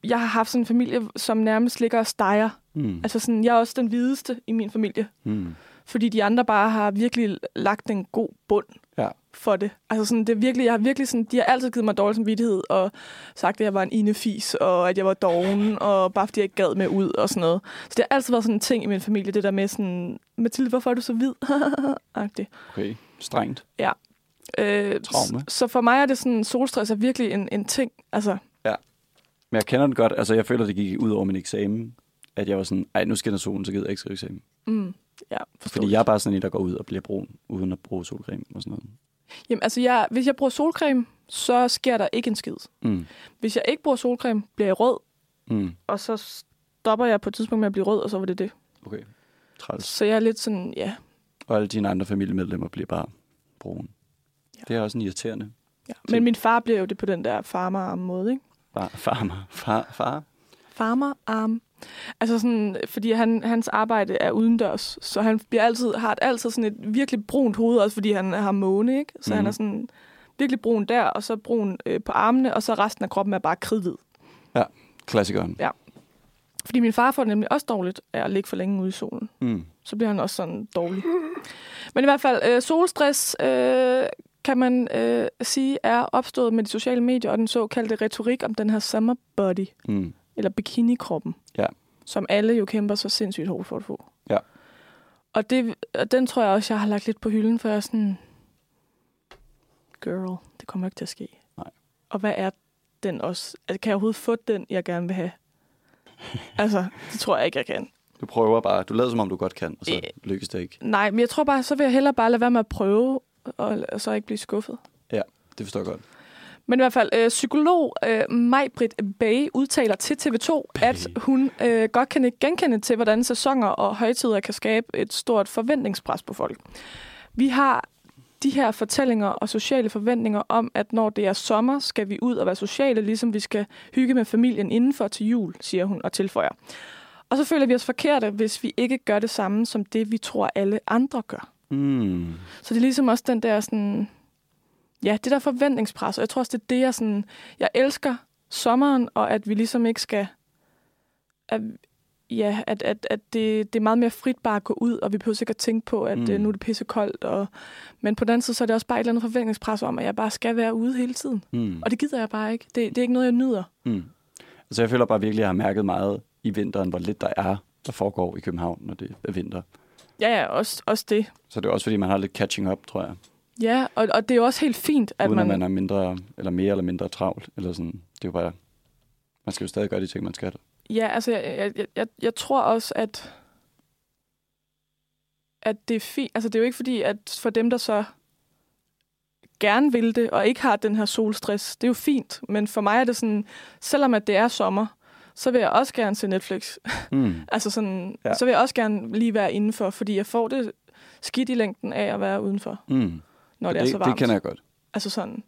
jeg har haft sådan en familie, som nærmest ligger og steger.
Mm.
Altså sådan, jeg er også den videste i min familie.
Mm.
fordi de andre bare har virkelig lagt en god bund
Ja.
for det. Altså sådan, det er virkelig, jeg har virkelig sådan, de har altid givet mig dårlig samvittighed og sagt, at jeg var en inefis, og at jeg var doven, og bare fordi jeg ikke gad med ud og sådan noget. Så det har altid været sådan en ting i min familie, det der med sådan, Mathilde, hvorfor er du så hvid? Agtigt.
Okay, strengt.
Øh,
Traume.
s- så for mig er det sådan, solstress er virkelig en, en ting. Altså,
Men jeg kender den godt. Altså, jeg føler, det gik ud over min eksamen. At jeg var sådan, ej, nu skinner solen, så gider jeg ikke skrive eksamen.
mm, ja, forståeligt.
Fordi jeg er bare sådan en, der går ud og bliver brun, uden at bruge solcreme og sådan noget.
Jamen, altså, jeg, hvis jeg bruger solcreme, så sker der ikke en skid.
Mm.
Hvis jeg ikke bruger solcreme, bliver jeg rød,
Mm.
og så stopper jeg på et tidspunkt med at blive rød, og så var det det.
Okay, træls.
Så jeg er lidt sådan, ja,
Og alle dine andre familiemedlemmer bliver bare brune.
Ja.
Ja. Det er også en irriterende
ja. Men min far blev jo det på den der farmararm måde, ikke?
far, farmer. Far, far.
Farmararm. Altså sådan, fordi han, hans arbejde er udendørs, så han bliver altid, har altid sådan et virkelig brunt hoved, også fordi han har måne, ikke? Så mm. han
Mhm.
er sådan virkelig brun der, og så brun øh, på armene, og så resten af kroppen er bare kridhvid.
Klassikeren.
Fordi min far får det nemlig også dårligt af at ligge for længe ude i solen.
Mm.
så bliver han også sådan dårlig. Men i hvert fald, øh, solstress øh, kan man øh, sige er opstået med de sociale medier og den såkaldte retorik om den her summer body,
Mm.
eller bikinikroppen,
Ja.
som alle jo kæmper så sindssygt hårdt for at få.
Ja.
Og, det, og den tror jeg også, jeg har lagt lidt på hylden, for jeg er sådan, girl, det kommer ikke til at ske.
Nej.
Og hvad er den også? Altså, kan jeg overhovedet få den, jeg gerne vil have? altså, det tror jeg ikke, jeg kan.
Du prøver bare. Du lader som om, du godt kan, og så
Øh.
lykkes det ikke.
Nej, men jeg tror bare, så vil jeg hellere bare lade være med at prøve, og, og så ikke blive skuffet.
Det forstår jeg godt.
Men i hvert fald, øh, psykolog øh, Majbrit Bay udtaler til TV2, Bay. at hun øh, godt kan ikke genkende til, hvordan sæsoner og højtider kan skabe et stort forventningspres på folk. Vi har de her fortællinger og sociale forventninger om, at når det er sommer, skal vi ud og være sociale, ligesom vi skal hygge med familien indenfor til jul, siger hun og tilføjer. Og så føler vi os forkerte, hvis vi ikke gør det samme som det, vi tror alle andre gør.
Mm.
Så det er ligesom også den der sådan... Ja, det der forventningspres, og jeg tror også, det er det, jeg sådan... Jeg elsker sommeren, og at vi ligesom ikke skal... At, ja, at, at, at det, det er meget mere frit bare at gå ud, og vi behøver sikkert tænke på, at
Mm.
mm. nu er det pissekoldt. Og, men på den anden side, så er det også bare et eller andet forventningspres om, at jeg bare skal være ude hele tiden.
Mm.
Og det gider jeg bare ikke. Det, det er ikke noget, jeg nyder.
Mm. Altså, jeg føler bare virkelig, at jeg har mærket meget i vinteren, hvor lidt der er, der foregår i København, når det er vinter.
Ja, ja, også, også det.
Så det er også, fordi man har lidt catching up, tror jeg.
Ja, og, og det er jo også helt fint, at
At uden man...
man...
at man er mindre, eller mere eller mindre travlt. Eller sådan. Det er jo bare... Man skal jo stadig gøre de ting, man skal.
Ja, altså, jeg, jeg- jeg, jeg, jeg tror også, at, at det er fint. Altså, det er jo ikke fordi, at for dem, der så gerne vil det, og ikke har den her solstress, det er jo fint. Men for mig er det sådan, selvom at det er sommer, så vil jeg også gerne se Netflix.
Mm.
Altså sådan, ja.
Ja.
så vil jeg også gerne lige være indenfor, fordi jeg får det skidt i længden af at være udenfor,
Mm.
når
Og
det, det er
det,
så varmt.
det kender jeg godt.
Altså sådan.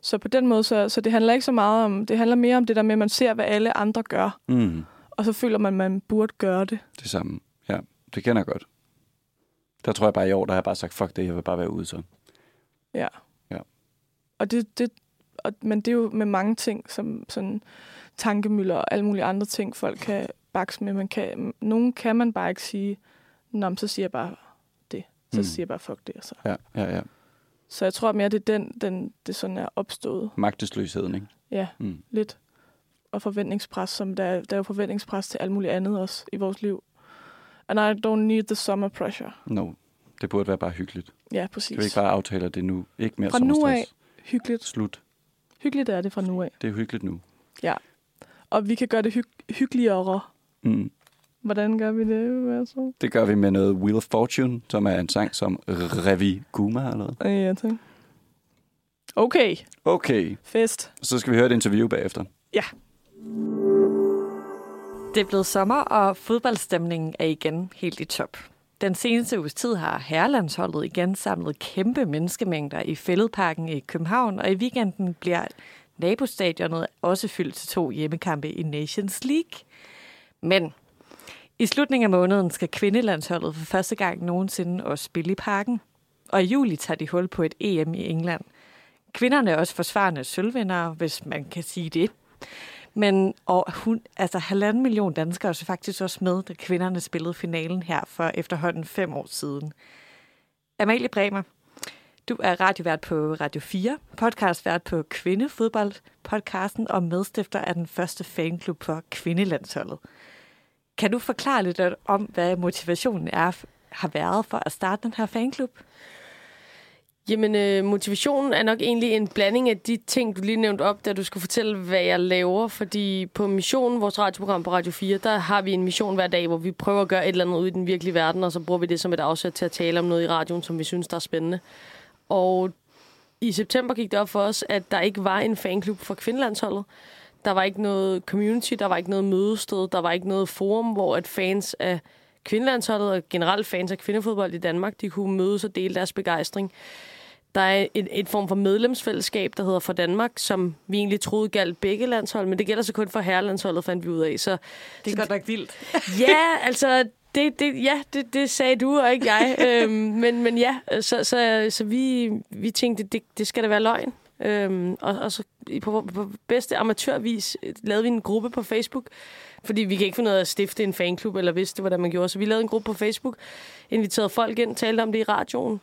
Så på den måde, så, så det handler ikke så meget om, det handler mere om det der med, at man ser, hvad alle andre gør,
Mm.
og så føler man, at man burde gøre det.
Det samme. Ja, det kender jeg godt. Der tror jeg bare i år, der har jeg bare sagt, fuck det, jeg vil bare være ude så.
Ja.
Ja.
Og det, det, og, men det er jo med mange ting, som sådan tankemøller og alle mulige andre ting, folk kan bakse med. Man kan, nogen kan man bare ikke sige, Nå, men så siger jeg bare det. Så
Mm.
mm. siger jeg bare fuck det. Og så.
Ja, ja, ja.
så jeg tror mere, det er den, den det sådan er opstået.
Magtesløsheden, ikke?
Ja,
Mm.
lidt. Og forventningspres, som der, er- der er jo forventningspres til alt muligt andet også i vores liv. And I don't need the summer pressure.
No, Det burde være bare hyggeligt.
Ja,
Kan vi
præcis.
ikke bare aftale at det nu? Ikke mere
Fra nu
sommerstress.
af, hyggeligt.
Slut.
Hyggeligt er det fra nu af.
Det er hyggeligt nu.
Og vi kan gøre det hyg- hyggeligere.
Mm.
Hvordan gør vi det? Hvad så?
Det gør vi med noget Wheel of Fortune, som er en sang som Ravi Guma har lavet.
Øh, Ja, tak. Okay,
Okay,
fest.
så skal vi høre et interview bagefter.
Det er blevet sommer, og fodboldstemningen er igen helt i top. Den seneste uges tid har herrelandsholdet igen samlet kæmpe menneskemængder i Fælledparken i København, og i weekenden bliver nabostadionet også fyldt til to hjemmekampe i Nations League. Men i slutningen af måneden skal kvindelandsholdet for første gang nogensinde også spille i parken. Og i juli tager de hul på et EM i England. Kvinderne er også forsvarende sølvvindere, hvis man kan sige det. Men og hun, altså halvanden million danskere så faktisk også med, da kvinderne spillede finalen her for efterhånden fem år siden. Amalie Bremer, du er radiovært på Radio 4, podcastvært på Kvindefodbold-podcasten og medstifter af den første fanklub for kvindelandsholdet. Kan du forklare lidt om, hvad motivationen er, har været for at starte den her fanklub?
Jamen, øh, motivationen er nok egentlig en blanding af de ting, du lige nævnte op, da du skulle fortælle, hvad jeg laver. Fordi på missionen, vores radioprogram på Radio 4, der har vi en mission hver dag, hvor vi prøver at gøre et eller andet ude i den virkelige verden, og så bruger vi det som et afsæt til at tale om noget i radioen, som vi synes, der er spændende. Og i september gik det op for os, at der ikke var en fanklub for kvindelandsholdet. Der var ikke noget community, der var ikke noget mødested, der var ikke noget forum, hvor at fans af kvindelandsholdet og generelt fans af kvindefodbold i Danmark, de kunne mødes og dele deres begejstring. Der er en, en form for medlemsfællesskab, der hedder For Danmark, som vi egentlig troede galt begge landshold, men det gælder så kun for herrelandsholdet, fandt vi ud af. Så
Det er godt nok vildt.
ja, altså, det, det, ja, det, det sagde du og ikke jeg. øhm, men, men ja, så, så, så vi, vi tænkte, det, det skal da være løgn. Øhm, og, og så i- på, på bedste amatørvis øh, lavede vi en gruppe på Facebook, fordi vi kan ikke finde ud af at stifte en fanklub, eller vidste, hvordan man gjorde. Så vi lavede en gruppe på Facebook, inviterede folk ind, talte om det i radioen,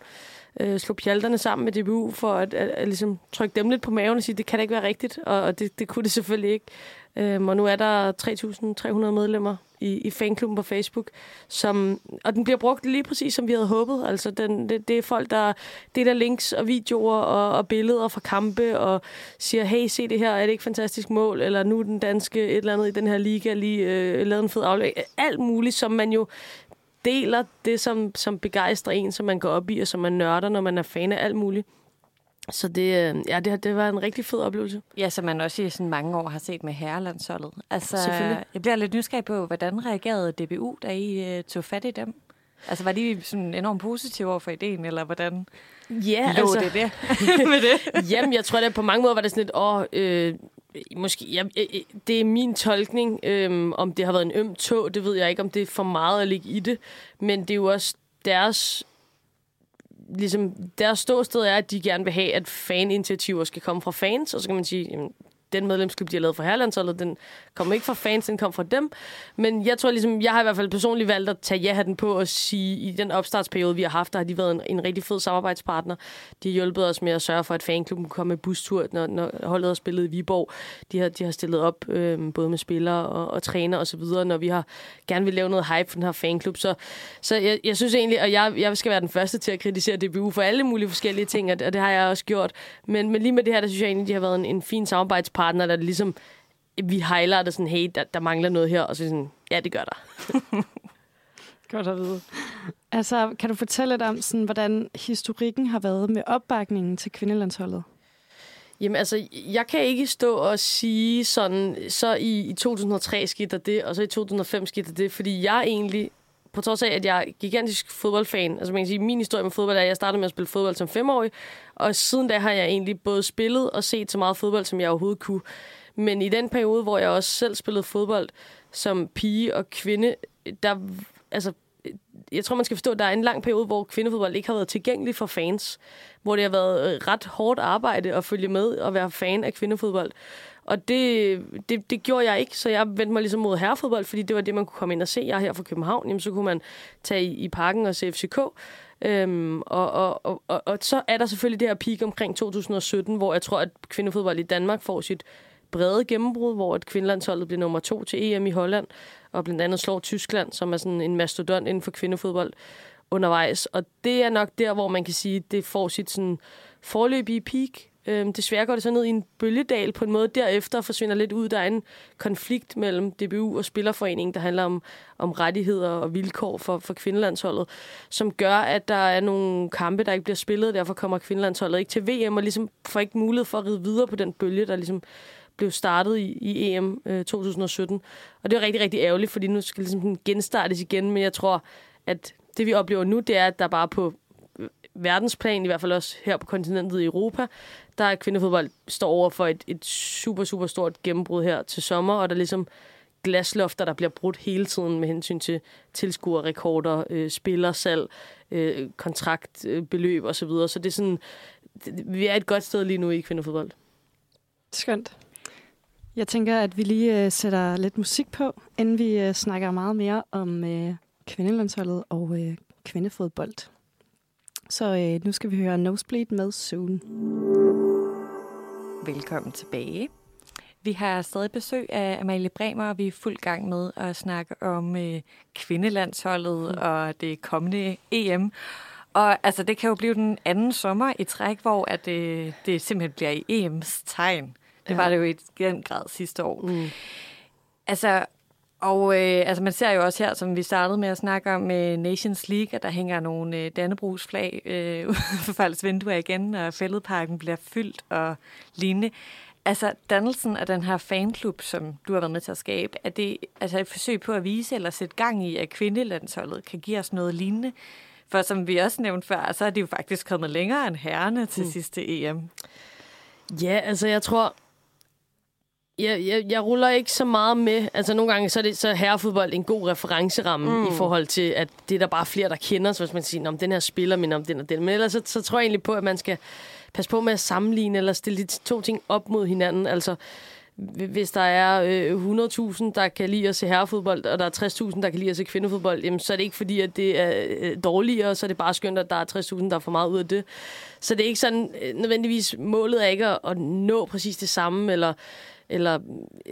øh, slog pjalterne sammen med DBU for at, at, at ligesom trykke dem lidt på maven og sige, det kan da ikke være rigtigt, og, og det, det kunne det selvfølgelig ikke. Øhm, og nu er der 3.300 medlemmer i, i fanklubben på Facebook, som, og den bliver brugt lige præcis, som vi havde håbet. Altså, den, det, det er folk, der deler links og videoer og, og billeder fra kampe og siger, hey, se det her, er det ikke fantastisk mål? Eller nu er den danske et eller andet i den her liga lige øh, lavet en fed aflevering. Alt muligt, som man jo deler det, som, som begejstrer en, som man går op i, og som man nørder, når man er fan af alt muligt. Så det, øh, ja, det, har- det var en rigtig fed oplevelse.
Ja, som man også i sådan mange år har set med herrelandsholdet. Altså,
Selvfølgelig.
jeg bliver lidt nysgerrig på, hvordan reagerede DBU, da I uh, tog fat i dem? Altså, var de sådan enormt positive over for ideen, eller hvordan
Ja,
ja, lå altså... det der med det?
Jamen, jeg tror da på mange måder var det sådan lidt, åh, øh, måske, jeg, jeg, jeg- det er min tolkning, øh, om det har været en øm tog, det ved jeg ikke, om det er for meget at ligge i det, men det er jo også deres ligesom, deres ståsted er, at de gerne vil have, at faninitiativer skal komme fra fans, og så kan man sige, jamen, den medlemsklub, de har lavet for Herlandsholdet, den kom ikke fra fans, den kom fra dem. Men jeg tror ligesom, jeg har i hvert fald personligt valgt at tage ja-hatten på og sige, i den opstartsperiode, vi har haft, der har de været en, en rigtig fed samarbejdspartner. De har hjulpet os med at sørge for, at fanklubben kunne komme med bustur, når, når holdet har spillet i Viborg. De har, de har stillet op, øh, både med spillere og, og træner og så videre, når vi har gerne vil lave noget hype for den her fanklub. Så, så jeg, jeg synes egentlig, og jeg, jeg skal være den første til at kritisere DBU for alle mulige forskellige ting, og det, og det har jeg også gjort. Men, men lige med det her, der synes jeg egentlig, de har været en, en fin samarbejdspartner, der ligesom vi highlighter sådan, hey, der, der mangler noget her, og så sådan, ja, det gør der.
Godt at vide.
Altså, kan du fortælle lidt om, sådan, hvordan historikken har været med opbakningen til kvindelandsholdet?
Jamen altså, jeg kan ikke stå og sige sådan, så i, i 2003 skete der det, og så i 2005 skete der det, fordi jeg egentlig, på trods af, at jeg er gigantisk fodboldfan, altså man kan sige, min historie med fodbold er, at jeg startede med at spille fodbold som femårig, og siden da har jeg egentlig både spillet og set så meget fodbold, som jeg overhovedet kunne. Men i den periode, hvor jeg også selv spillede fodbold som pige og kvinde, der, altså, jeg tror, man skal forstå, at der er en lang periode, hvor kvindefodbold ikke har været tilgængelig for fans. Hvor det har været øh, ret hårdt arbejde at følge med og være fan af kvindefodbold. Og det, det, det gjorde jeg ikke, så jeg vendte mig ligesom mod herrefodbold, fordi det var det, man kunne komme ind og se. Jeg er her fra København, jamen, så kunne man tage i, i parken og se FCK. Øhm, og, og, og, og, og så er der selvfølgelig det her peak omkring 2017, hvor jeg tror, at kvindefodbold i Danmark får sit brede gennembrud, hvor at kvindelandsholdet blev nummer E to til EM i Holland, og blandt andet slår Tyskland, som er sådan en mastodont inden for kvindefodbold. undervejs. Og det er nok der, hvor man kan sige, at det får sit sådan, forløbige peak. Øhm, desværre går det så ned i en bølgedal på en måde. Derefter forsvinder lidt ud. Der er en konflikt mellem DBU og Spillerforeningen, der handler om, om rettigheder og vilkår for, for kvindelandsholdet, som gør, at der er nogle kampe, der ikke bliver spillet. Derfor kommer kvindelandsholdet ikke til VM og ligesom får ikke mulighed for at ride videre på den bølge, der ligesom blev startet i, i EM øh, 2017. Og det er rigtig, rigtig ærgerligt, fordi nu skal det ligesom sådan genstartes igen, men jeg tror, at det vi oplever nu, det er, at der bare på øh, verdensplan, i hvert fald også her på kontinentet i Europa, der er kvindefodbold står over for et, et super, super stort gennembrud her til sommer, og der er ligesom glaslofter, der bliver brudt hele tiden med hensyn til tilskuerrekorder, øh, spillersalg, øh, kontraktbeløb øh, osv. Så, videre. så det er sådan, det- vi er et godt sted lige nu i kvindefodbold.
Skønt. Jeg tænker, at vi lige øh, sætter lidt musik på, inden vi øh, snakker meget mere om øh, kvindelandsholdet og øh, kvindefodbold. Så øh, nu skal vi høre Nosebleed med Soon.
Velkommen tilbage. Vi har stadig besøg af Amalie Bremer, og vi er fuld gang med at snakke om øh, kvindelandsholdet mm. og det kommende EM. Og altså, det kan jo blive den anden sommer i træk, hvor at, øh, det simpelthen bliver i EM's tegn. Det ja. var det jo i den grad sidste år. Mm. Altså, og øh, altså man ser jo også her, som vi startede med at snakke om øh, Nations League, at der hænger nogle øh, Dannebrugsflag øh, ude for folks vinduer igen, og fældeparken bliver fyldt og lignende. Altså, dannelsen af den her fanklub, som du har været med til at skabe, er det altså et forsøg på at vise eller sætte gang i, at kvindelandsholdet kan give os noget lignende? For som vi også nævnte før, så er de jo faktisk kommet længere end herrerne til mm. sidste EM.
Ja, altså jeg tror... Jeg, jeg, jeg ruller ikke så meget med... Altså nogle gange så er, det, så er herrefodbold en god referenceramme mm. i forhold til, at det er der bare flere, der kender. Så hvis man siger, "Nå, om den her spiller minder om den og den. Men ellers så, så tror jeg egentlig på, at man skal passe på med at sammenligne eller stille de to ting op mod hinanden. Altså hv- hvis der er øh, 100.000, der kan lide at se herrefodbold, og der er 60.000, der kan lide at se kvindefodbold, jamen, så er det ikke fordi, at det er øh, dårligere, så er det bare skønt, at der er 60.000, der er for meget ud af det. Så det er ikke sådan, øh, nødvendigvis målet er ikke at, at nå præcis det samme, eller, eller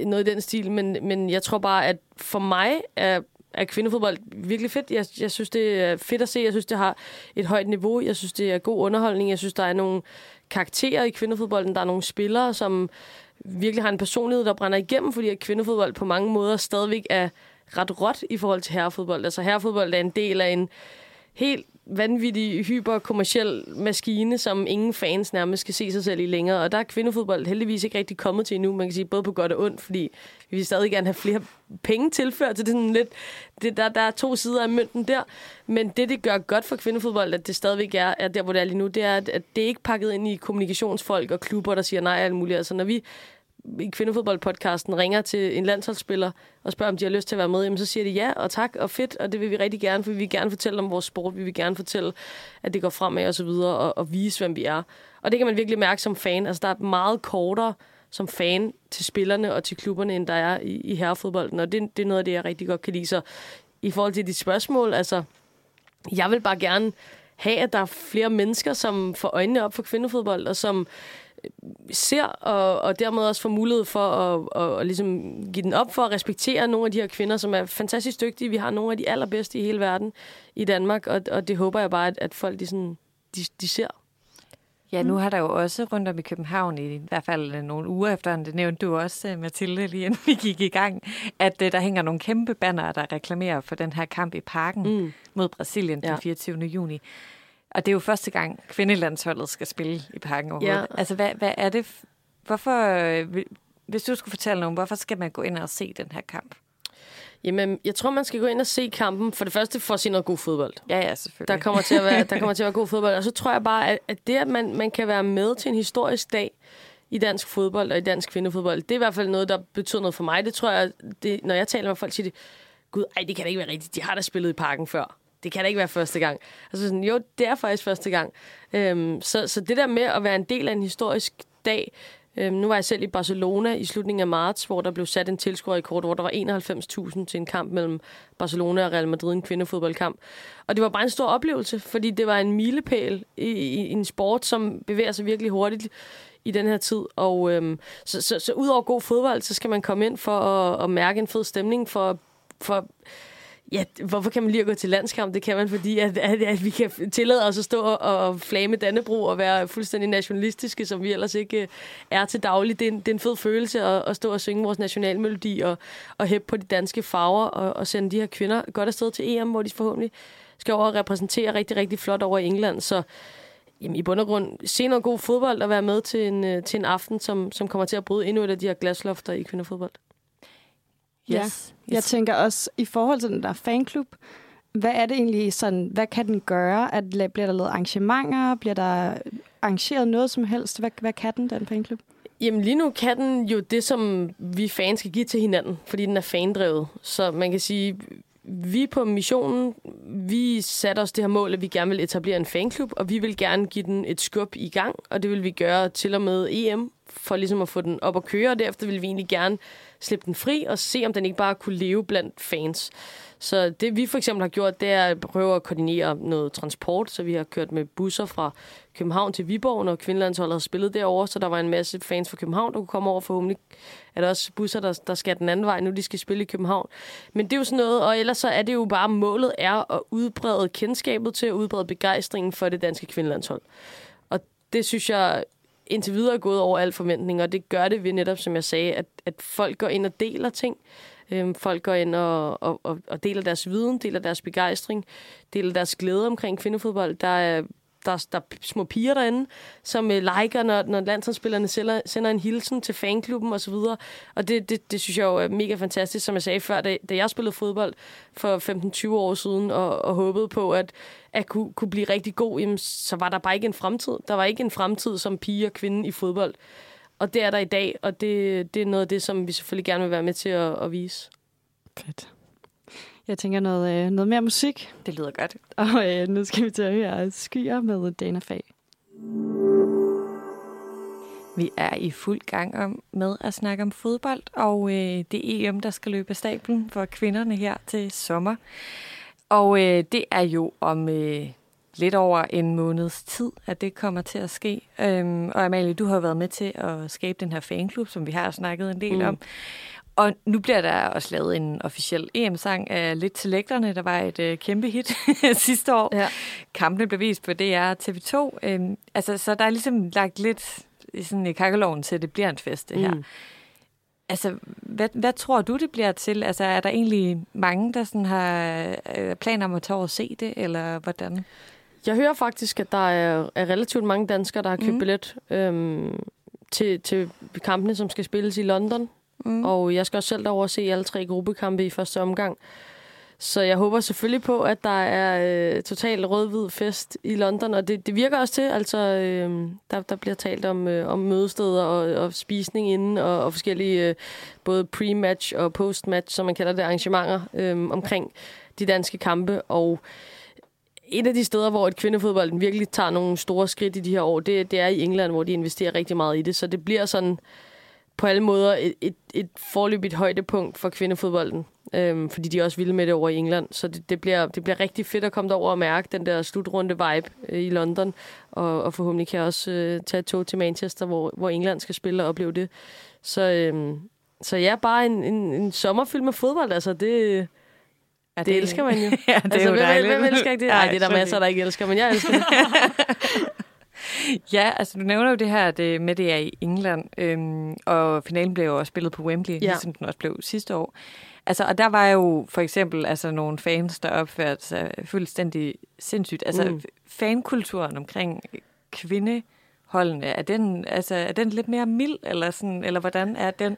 noget i den stil, men, men jeg tror bare, at for mig er, er kvindefodbold virkelig fedt. Jeg, jeg synes, det er fedt at se. Jeg synes, det har et højt niveau. Jeg synes, det er god underholdning. Jeg synes, der er nogle karakterer i kvindefodbolden. Der er nogle spillere, som virkelig har en personlighed, der brænder igennem, fordi at kvindefodbold på mange måder stadigvæk er ret råt i forhold til herrefodbold. Altså herrefodbold er en del af en helt vanvittig, hyperkommerciel maskine, som ingen fans nærmest kan se sig selv i længere. Og der er kvindefodbold heldigvis ikke rigtig kommet til endnu, man kan sige, både på godt og ondt, fordi vi vil stadig gerne have flere penge tilført, så det er sådan lidt, det, der, der er to sider af mønten der. Men det, det gør godt for kvindefodbold, at det stadigvæk er, er der, hvor det er lige nu, det er, at, at det er ikke pakket ind i kommunikationsfolk og klubber, der siger nej og alt muligt. Altså når vi i kvindefodboldpodcasten ringer til en landsholdsspiller og spørger, om de har lyst til at være med, jamen, så siger de ja og tak og fedt, og det vil vi rigtig gerne, for vi vil gerne fortælle om vores sport, vi vil gerne fortælle, at det går fremad og så videre, og, og vise, hvem vi er. Og det kan man virkelig mærke som fan. Altså, der er meget kortere som fan til spillerne og til klubberne, end der er i, i herrefodbolden, og det, det er noget af det, jeg rigtig godt kan lide. Så i forhold til dit spørgsmål, altså, jeg vil bare gerne have, at der er flere mennesker, som får øjnene op for kvindefodbold, og som ser, og, og dermed også får mulighed for at, at, at ligesom give den op for at respektere nogle af de her kvinder, som er fantastisk dygtige. Vi har nogle af de allerbedste i hele verden i Danmark, og, og det håber jeg bare, at, at folk de sådan, de, de ser.
Ja, nu har der jo også rundt om i København, i, hvert fald øh, nogle uger efter, det nævnte du også, øh, Mathilde, lige inden vi gik i gang, at øh, der hænger nogle kæmpe banner, der reklamerer for den her kamp i parken mm. mod Brasilien den
Ja.
24. juni. Og det er jo første gang, kvindelandsholdet skal spille i parken overhovedet. Ja.
Ja.
Altså, hvad, hvad er det? f- Hvorfor, øh, vil- hvis du skulle fortælle nogen, hvorfor skal man gå ind og se den her kamp?
Jamen, jeg tror, man skal gå ind og se kampen, for det første for at se noget god fodbold.
Ja, ja, selvfølgelig.
Der kommer til at være, der kommer til at være god fodbold. Og så tror jeg bare, at, at det, at man, man kan være med til en historisk dag i dansk fodbold og i dansk kvindefodbold, det er i hvert fald noget, der betyder noget for mig. Det tror jeg, det, når jeg taler med folk, siger de, gud, ej, det kan da ikke være rigtigt. De har da spillet i parken før. Det kan da ikke være første gang. Altså sådan, jo, det er faktisk første gang. Øhm, så, så det der med at være en del af en historisk dag, Øhm, nu var jeg selv i Barcelona i slutningen af marts, hvor der blev sat en tilskuerrekord, hvor der var 91.000 til en kamp mellem Barcelona og Real Madrid, en kvindefodboldkamp. Og det var bare en stor oplevelse, fordi det var en milepæl i, i, i en sport, som bevæger sig virkelig hurtigt i den her tid. Og øhm, så, så, så udover god fodbold, så skal man komme ind for at, at mærke en fed stemning, for, for Ja, hvorfor kan man lige at gå til landskamp? Det kan man, fordi at, at, at vi kan tillade os at stå og, og flame Dannebro og være fuldstændig nationalistiske, som vi ellers ikke øh, er til daglig. Det er en, det er en fed følelse at, at stå og synge vores nationalmelodi og, og hæppe på de danske farver og, og sende de her kvinder godt afsted til EM, hvor de forhåbentlig skal over og repræsentere rigtig, rigtig flot over i England. Så jamen, i bund og grund, se noget god fodbold og være med til en, øh, til en aften, som, som kommer til at bryde endnu et af de her glaslofter i kvinderfodbold.
Ja. Jeg tænker også, i forhold til den der fanklub, hvad er det egentlig sådan, hvad kan den gøre? At, la- bliver der lavet arrangementer? Bliver der arrangeret noget som helst? Hvad, hvad kan den, den fanklub?
Jamen lige nu kan den jo det, som vi fans skal give til hinanden, fordi den er fandrevet. Så man kan sige, vi på missionen, vi satte os det her mål, at vi gerne vil etablere en fanklub, og vi vil gerne give den et skub i gang, og det vil vi gøre til og med EM, for ligesom at få den op at køre, og derefter vil vi egentlig gerne slippe den fri og se, om den ikke bare kunne leve blandt fans. Så det vi for eksempel har gjort, det er at prøve at koordinere noget transport, så vi har kørt med busser fra København til Viborg, når kvindelandsholdet har spillet derovre, så der var en masse fans fra København, der kunne komme over forhåbentlig. Er der også busser, der, der skal den anden vej, nu de skal spille i København. Men det er jo sådan noget, og ellers så er det jo bare, målet er at udbrede kendskabet til, at udbrede begejstringen for det danske kvindelandshold. Og det synes jeg indtil videre er gået over al forventning, og det gør det ved netop, som jeg sagde, at, at folk går ind og deler ting. Øhm, folk går ind og, og, og, og deler deres viden, deler deres begejstring, deler deres glæde omkring kvindefodbold. Der er, der, er- der er små piger derinde, som øh, liker, når, når landsholdsspillerne sender, sender en hilsen til fanklubben osv. Og det, det, det synes jeg jo er mega fantastisk, som jeg sagde før, da, da jeg spillede fodbold for 15-20 år siden og, og håbede på, at at kunne, kunne blive rigtig god, jamen, så var der bare ikke en fremtid. Der var ikke en fremtid som pige og kvinde i fodbold. Og det er der i dag, og det, det er noget af det, som vi selvfølgelig gerne vil være med til at, at vise.
Fedt. Jeg tænker noget, øh, noget mere musik,
Det lyder godt.
og øh, nu skal vi til at høre Skyer med Dana Fag.
Vi er i fuld gang om med at snakke om fodbold, og øh, det er EM, der skal løbe af stablen for kvinderne her til sommer. Og øh, det er jo om øh, lidt over en måneds tid, at det kommer til at ske. Øhm, og Amalie, du har jo været med til at skabe den her fanklub, som vi har snakket en del mm. om. Og nu bliver der også lavet en officiel EM-sang af Lidt til lægterne, der var et øh, kæmpe hit sidste år.
Ja.
Kampene blev vist på DR og TV2. Øhm, altså, så der er ligesom lagt lidt i sådan i kakkeloven til, at det bliver en fest, det her. Mm. Altså, hvad, hvad tror du, det bliver til? Altså, er der egentlig mange, der sådan har øh, planer om at tage over og se det, eller hvordan?
Jeg hører faktisk, at der er, er relativt mange danskere, der har købt
Mm.
mm. billet øhm, til, til kampene, som skal spilles i London. Mm. Og jeg skal også selv derover og se alle tre gruppekampe i første omgang. Så jeg håber selvfølgelig på, at der er øh, total rød-hvid fest i London, og det, det virker også til. Altså, øh, der, der bliver talt om, øh, om mødesteder og, og spisning inden, og, og forskellige øh, både pre-match og post-match, som man kalder det, arrangementer øh, omkring de danske kampe. Og et af de steder, hvor et kvindefodbold virkelig tager nogle store skridt i de her år, det, det er i England, hvor de investerer rigtig meget i det. Så det bliver sådan på alle måder et, et, et forløbigt højdepunkt for kvindefodbolden. Øhm, fordi de er også vilde med det over i England. Så det, det, bliver, det bliver rigtig fedt at komme derover og mærke den der slutrunde vibe øh, i London. Og, og forhåbentlig kan jeg også øh, tage et tog til Manchester, hvor, hvor England skal spille og opleve det. Så, øhm, så ja, bare en, en, en sommerfilm med fodbold. Altså, det,
Er
det elsker man jo.
ja, det
altså,
er jo
hvem,
dejligt.
Hvem elsker ikke det? Nej, det er der
selvfølgelig.
masser, der ikke elsker, men jeg elsker det.
Ja, altså du nævner jo det her at, øh, med, det er i England, øhm, og finalen blev jo også spillet på Wembley, ja. ligesom den også blev sidste år. Altså, og der var jo for eksempel altså, nogle fans, der opførte sig fuldstændig sindssygt. Altså, mm.
Mm.
fankulturen omkring kvindeholdene, er den, altså, er den lidt mere mild, eller, sådan, eller hvordan er den?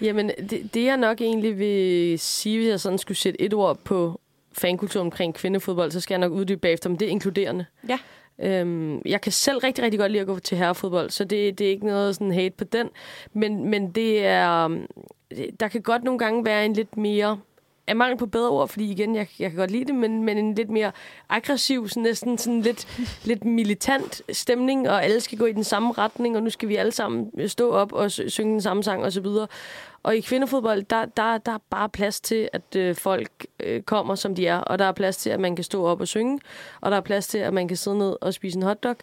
Jamen, det, det jeg nok egentlig vil sige, hvis jeg sådan skulle sætte et ord på fankultur omkring kvindefodbold, så skal jeg nok uddybe bagefter, men det er inkluderende.
Ja.
Øhm, jeg kan selv rigtig, rigtig godt lide at gå til herrefodbold, så det, det er ikke noget sådan hate på den. Men, men det er... øhm, Der kan godt nogle gange være en lidt mere af mangel på bedre ord, fordi igen, jeg, jeg kan godt lide det, men, men en lidt mere aggressiv, sådan næsten sådan lidt, lidt militant stemning, og alle skal gå i den samme retning, og nu skal vi alle sammen øh, stå op og sy- synge den samme sang osv. Og i kvindefodbold, der, der, der er bare plads til, at øh, folk øh, kommer, som de er. Og der er plads til, at man kan stå op og synge. Og der er plads til, at man kan sidde ned og spise en hotdog.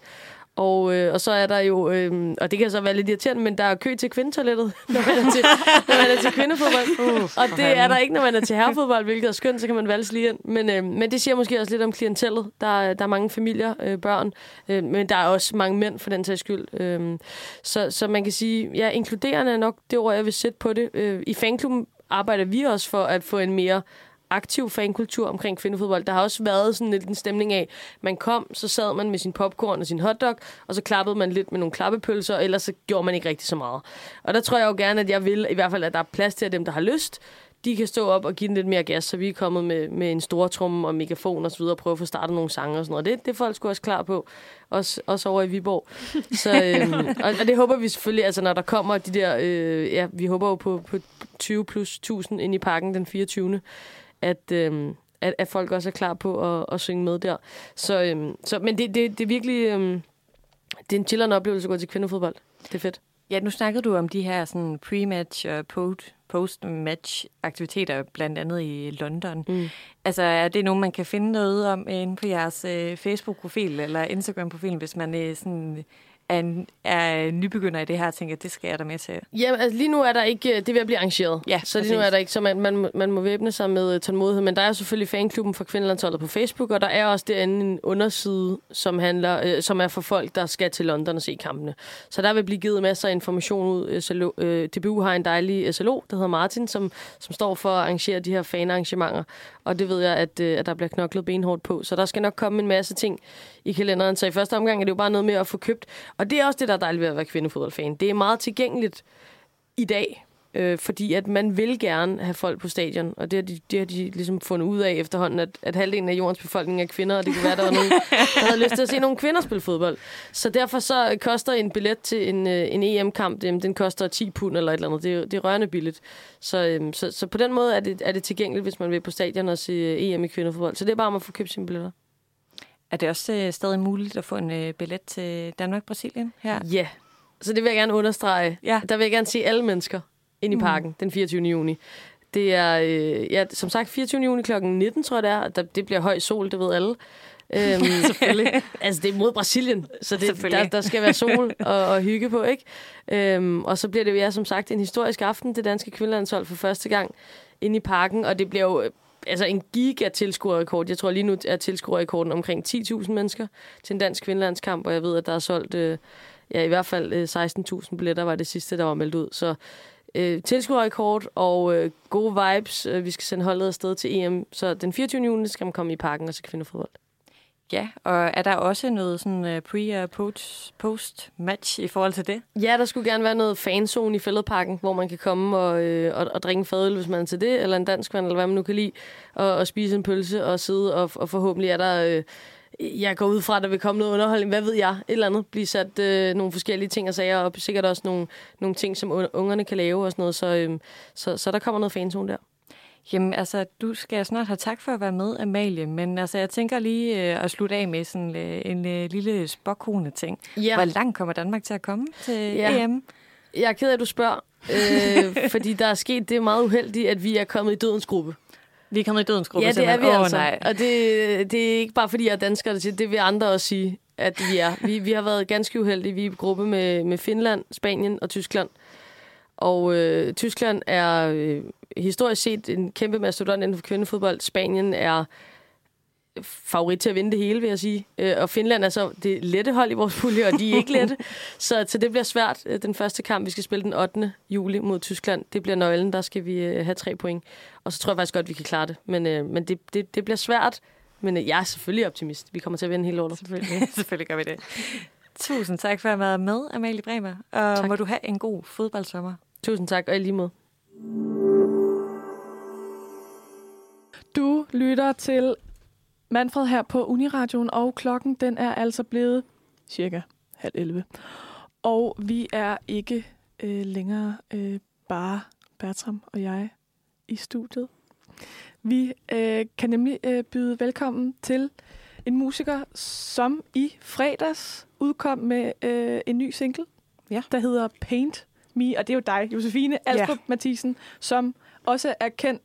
Og, øh, og så er der jo, øh, og det kan så være lidt irriterende, men der er kø til kvindetoilettet, når man er til, når man er til kvindefodbold.
Uh,
Og det er der ikke, når man er til herrefodbold, hvilket er skønt, så kan man valse lige ind. Men, øh, men det siger måske også lidt om klientellet. Der, er- der er mange familier, øh, børn, øh, men der er også mange mænd for den sags skyld. Øh, så, så man kan sige, ja, inkluderende er nok det ord, jeg vil sætte på det. Øh, I fanklubben arbejder vi også for at få en mere aktiv fankultur omkring kvindefodbold. Der har også været sådan lidt en stemning af, man kom, så sad man med sin popcorn og sin hotdog, og så klappede man lidt med nogle klappepølser, og ellers så gjorde man ikke rigtig så meget. Og der tror jeg jo gerne, at jeg vil, i hvert fald, at der er plads til, at dem, der har lyst, de kan stå op og give den lidt mere gas, så vi er kommet med, med en stor tromme og megafon og så videre, og prøve at få startet nogle sange og sådan noget. Det, det er folk sgu også klar på, også, også over i Viborg. Så, øhm, og, og, det håber vi selvfølgelig, altså når der kommer de der, øh, ja, vi håber jo på, på 20 plus 1000 ind i parken den 24. At, øhm, at, at folk også er klar på at, at synge med der. Så, øhm, så, men det, det, det er virkelig, øhm, det er en chillerende oplevelse at gå til kvindefodbold. Det er fedt.
Ja, nu snakkede du om de her sådan pre-match og po- post-match aktiviteter, blandt andet i London.
Mm.
Altså, er det nogen, man kan finde noget om øh, inde på jeres øh, Facebook-profil eller Instagram-profil, hvis man øh, sådan er, en, er nybegynder i det her og tænker, det skal jeg da med til?
Jamen, altså lige nu er der ikke, øh, det er ved at blive arrangeret.
Ja,
så lige nu
præcis.
er der ikke, så man, man, må- man må væbne sig med øh, tålmodighed. Men der er jo selvfølgelig fanklubben for kvindelandsholdet på Facebook, og der er også derinde en underside, som, handler, øh, som er for folk, der skal til London og se kampene. Så der vil blive givet masser af information ud. SLO, øh, DBU har en dejlig SLO, der hedder Martin, som, som står for at arrangere de her fanarrangementer. Og det ved jeg, at, øh, at der bliver knoklet benhårdt på. Så der skal nok komme en masse ting i kalenderen. Så i første omgang er det jo bare noget med at få købt. Og det er også det, der er dejligt ved at være kvindefodboldfan. Det er meget tilgængeligt i dag, øh, fordi at man vil gerne have folk på stadion, og det har de, det har de ligesom fundet ud af efterhånden, at, at halvdelen af jordens befolkning er kvinder, og det kunne være, der var nogen, der havde lyst til at se nogle kvinder spille fodbold. Så derfor så koster en billet til en, øh, en EM-kamp, den, den koster 10 pund eller et eller andet. Det, er- det er rørende billigt. Så, øhm, så, så på den måde er det, er det tilgængeligt, hvis man vil på stadion og se øh, EM i kvinderfodbold. Så det er bare om at få købt sine billetter.
Er det også øh, stadig muligt at få en øh, billet til Danmark-Brasilien her?
Ja, yeah. så det vil jeg gerne understrege.
Ja.
Der vil jeg gerne se alle mennesker ind i parken mm. den 24. juni. Det er, øh, ja, som sagt, 24. juni kl. 19, tror jeg det er. Der, det bliver høj sol, det ved alle. Øhm, Selvfølgelig. Altså, det er mod Brasilien, så det,
Selvfølgelig.
der, der skal være sol og, og hygge på, ikke? Øhm, og så bliver det jo, ja, som sagt, en historisk aften, det danske kvindelandshold for første gang inde i parken, og det bliver jo øh, altså en giga tilskuerrekord. Jeg tror lige nu er tilskuerrekorden omkring 10.000 mennesker til en dansk kvindelandskamp, og jeg ved, at der er solgt øh, ja, i hvert fald øh, 16.000 billetter, var det sidste, der var meldt ud. Så øh, tilskuerrekord og øh, gode vibes. Øh, Vi skal sende holdet afsted til EM, så den 24. juni skal man komme i parken og se kvindefodbold.
Ja, og er der også noget sådan øh, pre- og post- post-match i forhold til det?
Ja, der skulle gerne være noget fanzone i fældeparken, hvor man kan komme og, øh, og, og drikke en fadøl, hvis man er til det, eller en dansk vand, eller hvad man nu kan lide, og, og spise en pølse og sidde, og, og forhåbentlig er der... Øh, jeg går ud fra, at der vil komme noget underholdning. Hvad ved jeg? Et eller andet. Blive sat øh, nogle forskellige ting og sager op. Sikkert også nogle, nogle ting, som un- ungerne kan lave og sådan noget. Så, øh, så, så der kommer noget fanzone der.
Jamen, altså, du skal snart have tak for at være med, Amalie, men altså, jeg tænker lige øh, at slutte af med sådan øh, en øh, lille spokkone ting.
Ja.
Hvor langt kommer Danmark til at komme til
Ja.
ja. EM?
Jeg er ked af, at du spørger, øh, fordi der er sket det meget uheldige, at vi er kommet i dødens gruppe.
Vi er kommet i dødens gruppe,
ja, det er vi
simpelthen. Åh,
altså.
Nej.
Og det, det er ikke bare, fordi jeg er dansker, der siger, det vil andre også sige, at vi er. Vi, vi har været ganske uheldige. Vi er i gruppe med, med Finland, Spanien og Tyskland. Og øh, Tyskland er øh, historisk set en kæmpe mastodont inden for kvindefodbold. Spanien er favorit til at vinde det hele, vil jeg sige. Øh, og Finland er så det lette hold i vores pulje, og de er ikke lette. så, så det bliver svært. Øh, Den første kamp, vi skal spille den 8. juli mod Tyskland, det bliver nøglen. Der skal vi øh, have tre point. Og så tror jeg faktisk godt, vi kan klare det. Men, øh, men det, det, det bliver svært. Men øh, jeg er selvfølgelig optimist. Vi kommer til at vinde hele lortet.
Selvfølgelig. Selvfølgelig gør vi det. Tusind tak for at være med, Amalie Bremer. Og
Tak.
tak. må du have en god fodboldsommer.
Tusind tak, og i lige måde.
Du lytter til Manfred her på Uniradioen, og klokken den er altså blevet cirka halv 11. Og vi er ikke øh, længere øh, bare Bertram og jeg i studiet. Vi øh, kan nemlig øh, byde velkommen til en musiker, som i fredags udkom med øh, en ny single,
Ja.
der hedder Paint Me, og det er jo dig, Josefine Alstrup ja. Mathisen, som også er kendt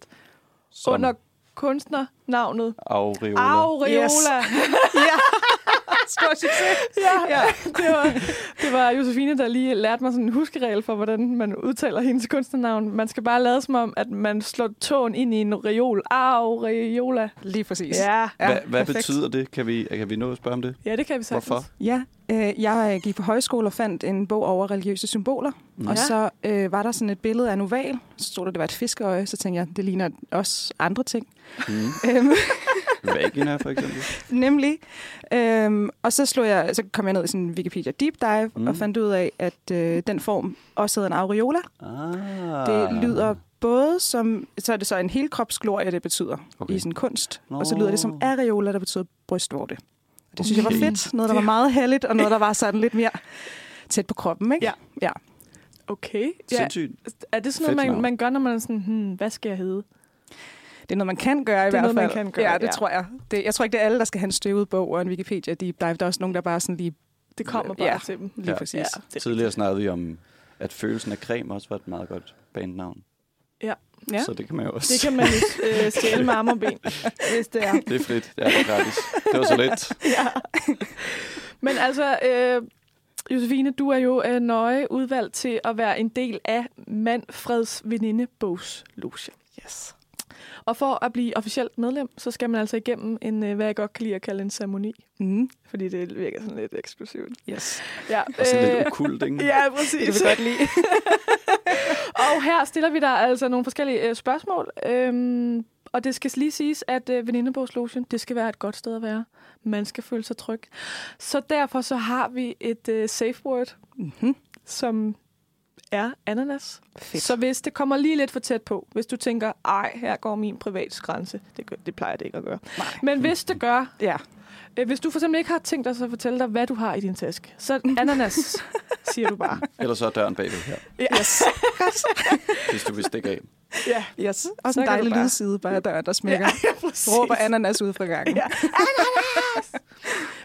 Som
under kunstnernavnet
Aureola.
Aureola.
Yes.
Yes.
Ja,
stor succes.
Ja,
Ja.
det var, det var Josefine, der lige lærte mig sådan en huskeregel for, hvordan man udtaler hendes kunstnernavn. Man skal bare lade som om, at man slår tåen ind i en reol. Aureola.
Lige præcis.
Ja.
Hva, hvad betyder det? Kan vi, kan vi nå at spørge om det?
ja, det kan vi sagtens.
Hvorfor?
Ja, øh, jeg gik på højskole og fandt en bog over religiøse symboler.
Mm.
Mm. Og
Ja.
så øh, var der sådan et billede af en oval. Så stod der, det var et fiskeøje. Så tænkte jeg, det ligner også andre ting.
Mm.
Øhm,
Vagina, for eksempel?
Nemlig. Øhm, og så, slog jeg, så kom jeg ned i sådan en Wikipedia deep dive
Mm.
mm. og fandt ud af, at øh, den form også hedder en aureola.
Ah.
Det lyder både som, så er det så en helkropsglorie, det betyder okay.
Okay.
i sådan kunst. Og så lyder det som
Nå.
areola, der betyder brystvorte. Og det synes jeg var
Okay.
fedt. Noget, der var meget heldigt, og noget, der var sådan lidt mere tæt på kroppen. Ikke?
Ja. Okay. Ja,
Sindssygt.
er det sådan
Fedt
noget,
navn.
man, man gør, når man er sådan, hmm, hvad skal jeg hedde?
Det er noget, man kan gøre i
Det er
hvert
noget,
fald.
man kan gøre,
ja, det
ja.
tror jeg. Det, jeg tror ikke, det er alle, der skal have en støvet bog og en Wikipedia deep dive. Der er også nogen, der bare sådan lige,
Det kommer bare
Ja.
til dem.
lige
Ja.
ja. præcis. Ja.
Tidligere snakkede vi om, at følelsen af creme også var et meget godt bandnavn.
Ja.
Ja.
Så det kan man jo også.
Det kan man jo øh, stjæle med arme og ben, hvis det er.
Det er frit. Det er det gratis. Det var så
Øh.
let.
Men altså, øh, Josefine, du er jo øh, nøje udvalgt til at være en del af Manfreds Veninde Bogsloge. Yes. Og for at blive officielt medlem, så skal man altså igennem en, øh, hvad jeg godt kan lide at kalde en ceremoni.
Mm.
Fordi det virker sådan lidt eksklusivt.
Yes.
Ja,
Og sådan lidt
øh,
okult, ikke?
ja præcis.
Det kan vi godt lide.
Og her stiller vi dig altså nogle forskellige øh, spørgsmål. Øhm, og det skal lige siges, at øh, venindebogslogen, det skal være et godt sted at være. Man skal føle sig tryg. Så derfor så har vi et øh, safe word,
mm-hmm.
som er ananas.
Fedt.
Så hvis det kommer lige lidt for tæt på, hvis du tænker, ej, her går min privatsgrænse. Det, gør, det plejer det ikke at gøre.
Nej.
Men hvis det gør,
Ja.
øh, hvis du for eksempel ikke har tænkt dig så at fortælle dig, hvad du har i din taske, så ananas, siger du bare.
Ellers så er døren bagved her,
Yes.
hvis du vil stikke af.
Ja,
yes. Også
Mm, Så
en
kan
dejlig
du bare-
lydside bare af døren, der smækker. Ja.
præcis.
Råber ananas ud fra gangen. Ja.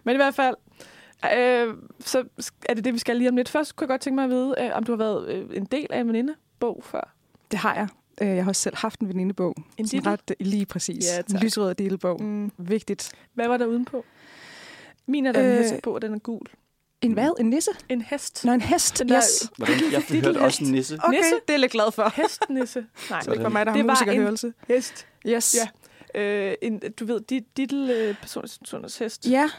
Men i hvert fald, øh, så er det det, vi skal lige om lidt. Først kunne jeg godt tænke mig at vide, øh, om du har været øh, en del af en venindebog før.
Det har jeg. Øh, Jeg har også selv haft en venindebog.
En
Sådan
dittel?
ret lige præcis.
Ja,
en
tak.
lysrød delebog.
Mm.
Vigtigt.
Hvad var der udenpå? Min er der øh, en
Øh,
hest på, og den er gul.
En hvad? En nisse?
En hest.
Nå, en hest.
Den der-
Yes.
Hvordan? Jeg
er
hørte
din
også en nisse.
Okay,
Nisse?
det er jeg lidt glad for.
Hestnisse. Nej,
Det er
Sådan.
ikke for mig, der har
Det var en-
musikerhørelse.
hest.
Yes.
Ja. Øh, en, du ved, dit, dit lille personers hest.
ja,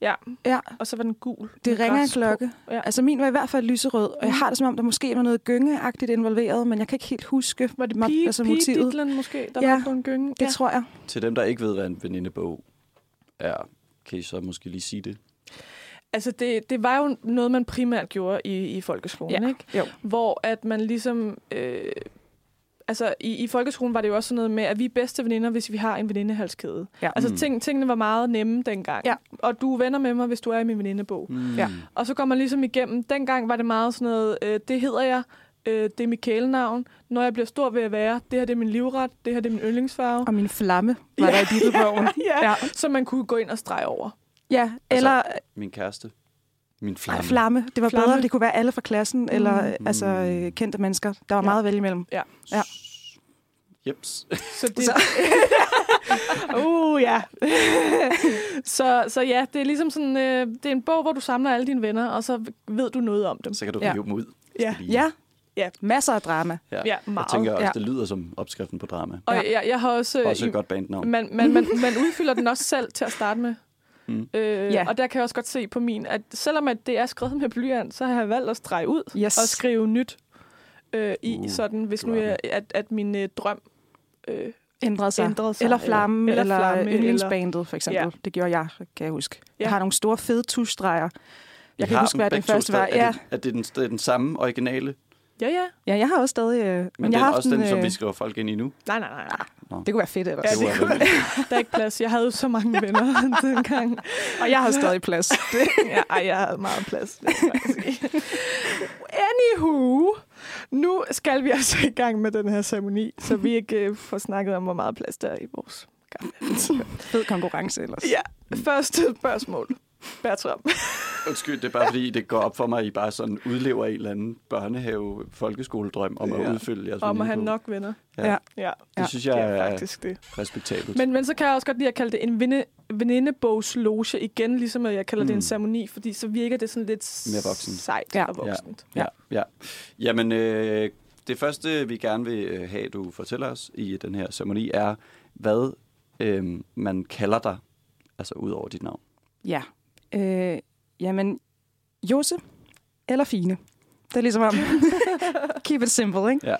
ja.
Ja.
Og så var den gul.
det
med
ringer en
græs på.
klokke.
Ja.
Altså min var i hvert fald lyserød, og
Mm.
jeg har det som om, der måske var noget gyngeagtigt involveret, men jeg kan ikke helt huske
Var det
mig-
pige,
altså,
pige
motivet.
ditlen måske, der
Ja,
var på en gynge?
Det tror jeg.
Til dem, der ikke ved, hvad en venindebog er, kan I så måske lige sige det?
Altså, det, det var jo noget, man primært gjorde i, i folkeskolen,
Ja,
ikke?
jo.
Hvor at man ligesom... Øh, altså, i, i folkeskolen var det jo også sådan noget med, at vi er bedste veninder, hvis vi har en venindehalskæde.
Ja.
Altså,
Mm.
ting, tingene var meget nemme dengang.
Ja.
Og du er venner med mig, hvis du er i min venindebog.
Mm.
Ja.
Og så går man ligesom igennem. Dengang var det meget sådan noget, øh, det hedder jeg, øh, det er mit kælenavn. Når jeg bliver stor, vil jeg være. Det her det er min livret. Det her det er min yndlingsfarve.
Og min flamme var der i dittelbogen.
Ja. Altså-
Ja.
Så man kunne gå ind og strege over.
Ja, eller
Min kæreste. Min flamme.
flamme. flamme. Det var
Flamme.
flamme. bedre. Det kunne være alle fra klassen, mm. eller
Mm.
altså, øh, kendte mennesker. Der var
Ja.
ja. meget at vælge imellem. Ja.
Jeps.
Så det... uh, ja. så, så ja, det er ligesom sådan, øh, det er en bog, hvor du samler alle dine venner, og så ved du noget om dem.
Så kan du
Ja.
rive dem ud.
Ja,
Lige.
Ja.
Ja.
Masser af drama.
ja
Jeg
meget.
tænker også,
Ja.
det lyder som opskriften på drama.
Og jeg, jeg har også... øh,
Også et godt bandnavn.
man, man, man, man udfylder den også selv til at starte med.
Mm.
Øh,
Ja.
Og der kan jeg også godt se på min, at selvom at det er skrevet med blyant, så har jeg valgt at strege ud
Yes.
og skrive nyt øh, i,
Uh,
sådan, hvis
det
nu
var
jeg, at, at min øh, drøm øh,
ændrede sig.
ændrede sig.
Eller flamme, eller, eller,
flamme,
flamme, yndlingsbandet, for eksempel.
Ja.
Ja. Det gjorde jeg, kan jeg huske.
Ja.
Jeg har nogle store fede tuschstreger. Jeg kan
har
huske,
dem
hvad den
begge to
første var.
stadig. Er,
Ja.
det, er det den, det er den samme originale?
Ja, ja.
ja, jeg har også stadig... Øh, men,
Men, men
jeg
den
har
er
haft
også den,
en,
som
øh,
vi skriver folk ind i nu?
Nej, nej, nej. nej.
Det kunne være fedt ellers.
Ja,
Ja,
Det
det
var
kunne
vel-
Der er ikke plads. Jeg havde jo så mange venner dengang.
og jeg har stadig plads.
Ja, ej, jeg havde meget plads. det må jeg sige. Anywho, nu skal vi altså i gang med den her ceremoni, så vi ikke øh, får snakket om, hvor meget plads der er i vores gamle.
fed konkurrence ellers.
Ja, første spørgsmål. Bertram.
Undskyld, det er bare fordi, det går op for mig, at I bare sådan udlever en eller anden børnehave folkeskoledrøm om
Ja.
at udfylde jeres
Om at have
venindebog.
nok venner.
Ja.
Ja.
Ja,
Det synes jeg
det er
er
faktisk det.
respektabelt.
Men, men så kan jeg også godt lide at kalde det en vinde, venindebogsloge igen, ligesom at jeg kalder mm. det
Mm.
en ceremoni, fordi så virker det sådan lidt
Mere voksent.
sejt
Ja.
og voksent.
Ja, ja. Jamen, øh, det første, vi gerne vil øh, have, du fortæller os i den her ceremoni, er, hvad øh, man kalder dig, altså ud over dit navn.
Ja. Øh, jamen, Jose eller Fine. Det er ligesom om, keep it simple, ikke?
Ja.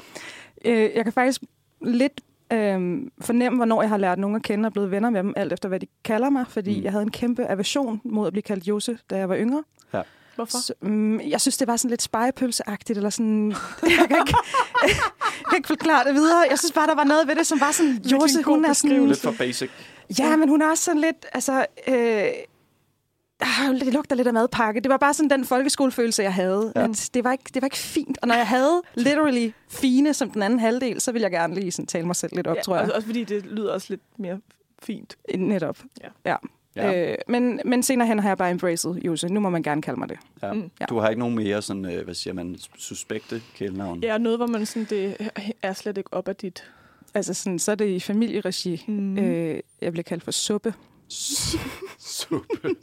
Øh, jeg kan faktisk lidt øh, fornemme, hvornår jeg har lært nogen at kende og blevet venner med dem, alt efter hvad de kalder mig, fordi
Mm.
mm. jeg havde en kæmpe aversion mod at blive kaldt Jose, da jeg var yngre.
Hvorfor?
Så, mm, jeg synes, det var sådan lidt spejepølseagtigt, eller sådan... Jeg kan, ikke, jeg kan ikke forklare det videre. Jeg synes bare, der var noget ved det, som var sådan...
Virkelig en
Jose,
god
hun er sådan...
Lidt for basic.
Ja, men hun er også sådan lidt, altså... Øh, ah, det lugter lidt af madpakke. Det var bare sådan den folkeskolefølelse, jeg havde.
Ja.
Ja. At det, var ikke, det var ikke fint. Og når jeg havde literally fine som den anden halvdel, så ville jeg gerne lige sådan, tale mig selv lidt op, ja, tror jeg.
Altså, også fordi det lyder også lidt mere fint.
Netop.
Ja.
ja.
Ja.
ja. Øh, men, men senere hen har jeg bare embraced Jose. Nu må man gerne kalde mig det.
Ja.
Mm.
Du har ikke nogen mere sådan, øh, hvad siger man, suspekte kælenavn?
Ja, noget, hvor man sådan, det er slet ikke op ad dit...
Altså sådan, så er det i familieregi. Mm. Øh, jeg bliver kaldt for suppe.
Suppe.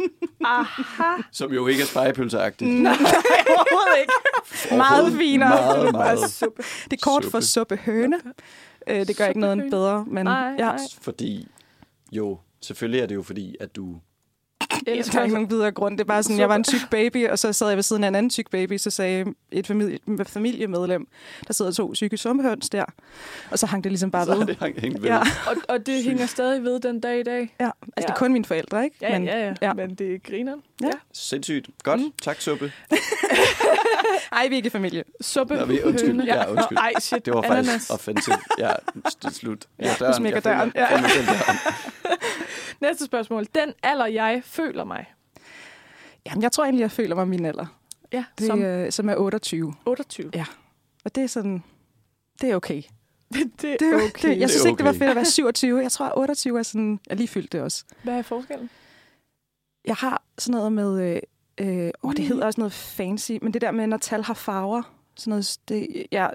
Aha. Som jo ikke er spejepølseagtigt.
Nej, overhovedet ikke. Meget finere.
Meget, meget.
Suppe. Det er kort for suppe høne. Øh, det gør ikke noget
Suppehøne.
bedre, men
Nej,
ja,
nej.
Fordi, jo, selvfølgelig er det jo fordi, at du...
jeg tager
altså-
ikke nogen videre grund. Det er bare sådan, jeg var en tyk baby, og så sad jeg ved siden af en anden tyk baby, så sagde et familie, familiemedlem, der sidder to syge sumpehøns der. Og så hang det ligesom bare
Så er
ved.
det hang- hængt ved.
Ja,
Og, og det hænger stadig ved den dag i dag.
ja. Altså, det er kun mine forældre, ikke?
Ja, men, ja, ja,
ja.
ja. Men det griner.
Sindssygt. Godt. Mm. Tak, Suppe.
Ej, vi er ikke i familie.
Suppe,
Nå, vi- undskyld.
høne.
Ja, undskyld.
Nå, Ej, shit.
Det var faktisk
Ananas.
offensivt. Ja, st- slut. Ja,
nu smækker
Jeg følger-
døren. Ja.
følger selv døren.
Næste spørgsmål. Den alder, jeg føler mig.
Jamen, jeg tror egentlig, jeg føler mig min alder,
Ja,
det, som, øh, som er 28.
28.
Og det er sådan, det er okay.
Det, det,
Det, er okay. det,
er
jeg synes ikke, det var
okay.
fedt at være 27. Jeg tror, at 28 er sådan... Jeg har lige fyldt det også.
Hvad er forskellen?
Jeg har sådan noget med... Øh, øh, åh, det hedder også noget fancy, men det der med, når tal har farver. Sådan noget, det, ja,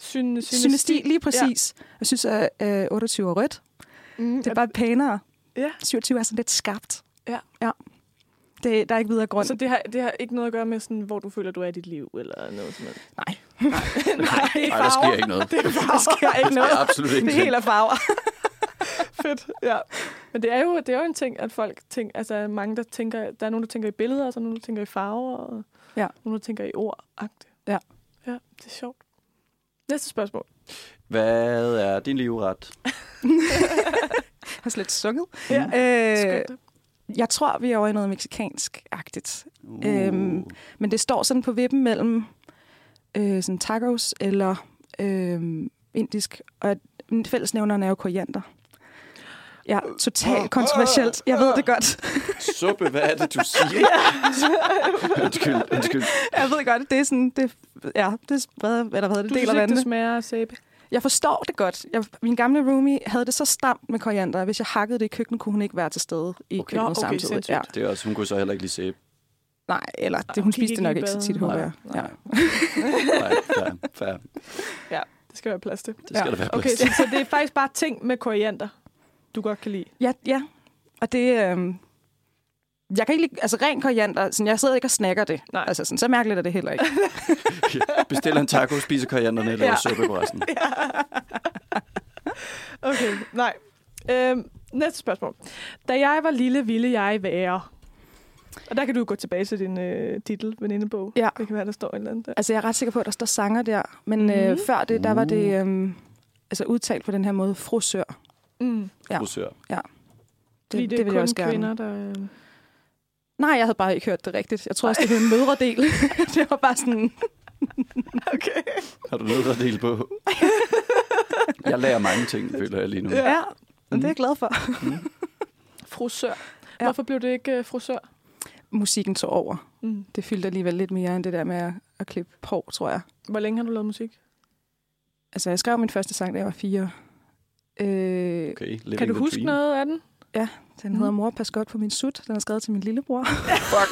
Syn,
synesti, lige præcis. Ja. Jeg synes, at øh, 28 er rødt.
Mm,
Det er bare pænere.
Ja.
27 er sådan lidt skarpt.
Ja.
ja. Det, der er ikke videre grund.
Så det har, det har ikke noget at gøre med, sådan, hvor du føler, du er i dit liv, eller noget sådan noget?
Nej.
Nej, det
Ej, der sker ikke noget.
Det er
der
farver.
sker ikke
Der
noget.
er absolut ikke
Det hele er farver.
Fedt, ja. Men det er, jo, det er jo en ting, at folk tænker, altså mange, der tænker, der er nogen, der tænker i billeder, og så er nogen, der tænker i farver, og
Ja.
nogen, der tænker i ord -agtigt.
Ja.
Ja, det er sjovt. Næste spørgsmål.
Hvad er din livret?
Jeg har slet sunget.
Ja.
Øh,
Skønt.
jeg tror, vi er over i noget meksikansk-agtigt.
Uh.
Øhm, Men det står sådan på vippen mellem øh, sådan tacos eller øh, indisk. Og at fællesnævneren er jo koriander. Ja, totalt kontroversielt. Jeg ved det godt.
Suppe, hvad er det, du siger? undskyld, undskyld.
Jeg ved godt, det er sådan, det, ja, det spreder, eller hvad
Du
hedder det, deler
synes ikke,
vandene.
det smager af sæbe?
Jeg forstår det godt. Jeg, min gamle roomie havde det så stramt med koriander, at hvis jeg hakkede det i køkkenet, kunne hun ikke være til stede i
Okay.
okay. køkkenet
Nå, okay,
samtidig.
sindssygt.
Ja.
Det er også, hun kunne så heller ikke lige sæbe.
Nej, eller det,
Ej,
hun
hun
spiste
gik
det nok
ikke i
ikke så
bad.
tit, håber jeg. Ja.
Nej, fair, fair.
Det skal være plads til.
Det skal der være plads
Okay, så, så det er faktisk bare ting med koriander, du godt kan lide.
Ja, ja. Og det... Øh, jeg kan ikke lide, altså ren koriander, sådan, jeg sidder ikke og snakker det.
Nej.
Altså, sådan, så mærkeligt er det heller ikke.
Ja. Bestiller en taco, spiser korianderne, eller ja.
Ja.
suppe på resten.
Okay, nej. Øhm, næste spørgsmål. Da jeg var lille, ville jeg være... Og der kan du gå tilbage til din øh, titel, venindebog.
Ja.
Det kan være, der står en eller anden der.
altså, jeg er ret sikker på, at der står sanger der. Men mm. øh,
Mhm.
før det, der var det øh, altså, udtalt på den her måde, frusør.
Mm.
Ja.
Frisør.
Fordi det, det, det er
vil
kun kvinder, der... Øh...
Nej, jeg havde bare ikke hørt det rigtigt. Jeg tror også, det hed en mødredel. det var bare sådan...
Okay.
Har du noget at dele på? Jeg lærer mange ting, føler jeg lige nu. Mm.
Ja. Mhm. ja. Men det er jeg glad for.
Frusør.
Ja.
Ja. Hvorfor blev det ikke øh, frusør?
Musikken tog over.
Mm.
Det fyldte alligevel lidt mere end det der med at, at klippe hår, tror jeg.
Hvor længe har du lavet musik?
Altså, jeg skrev min første sang, da jeg var fire. Øh,
Okay, living
kan du
the
huske
dream.
noget af den?
Den hedder Mor, pas godt på min sut. Den er skrevet til min lillebror.
Fuck.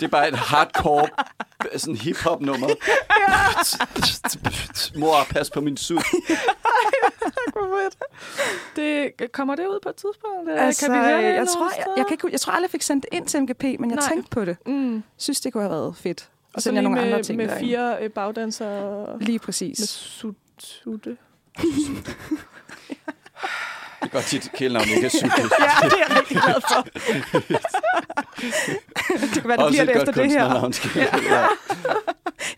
Det er bare et hardcore sådan hip-hop nummer. Mor, pas på min sut.
Det, kommer det ud på et tidspunkt?
Altså,
Altså, jeg, jeg, tror, jeg, jeg, kan ikke, hu- jeg tror aldrig, jeg fik sendt det ind til MGP, men jeg
Nej.
Nej. tænkte på det.
Mm.
Synes, det kunne have været fedt.
Og
Og
så
sælger
lige
nogle
med,
andre ting
med
derind.
fire øh, bagdansere og
Lige
med
præcis.
sut, sutte.
Det er godt tit kælenavn ikke er sut.
Ja, det er jeg rigtig glad for. det kan være, det
Også
bliver
et
det
godt
efter det her.
kunstnernavn, skal jeg ja.
Jeg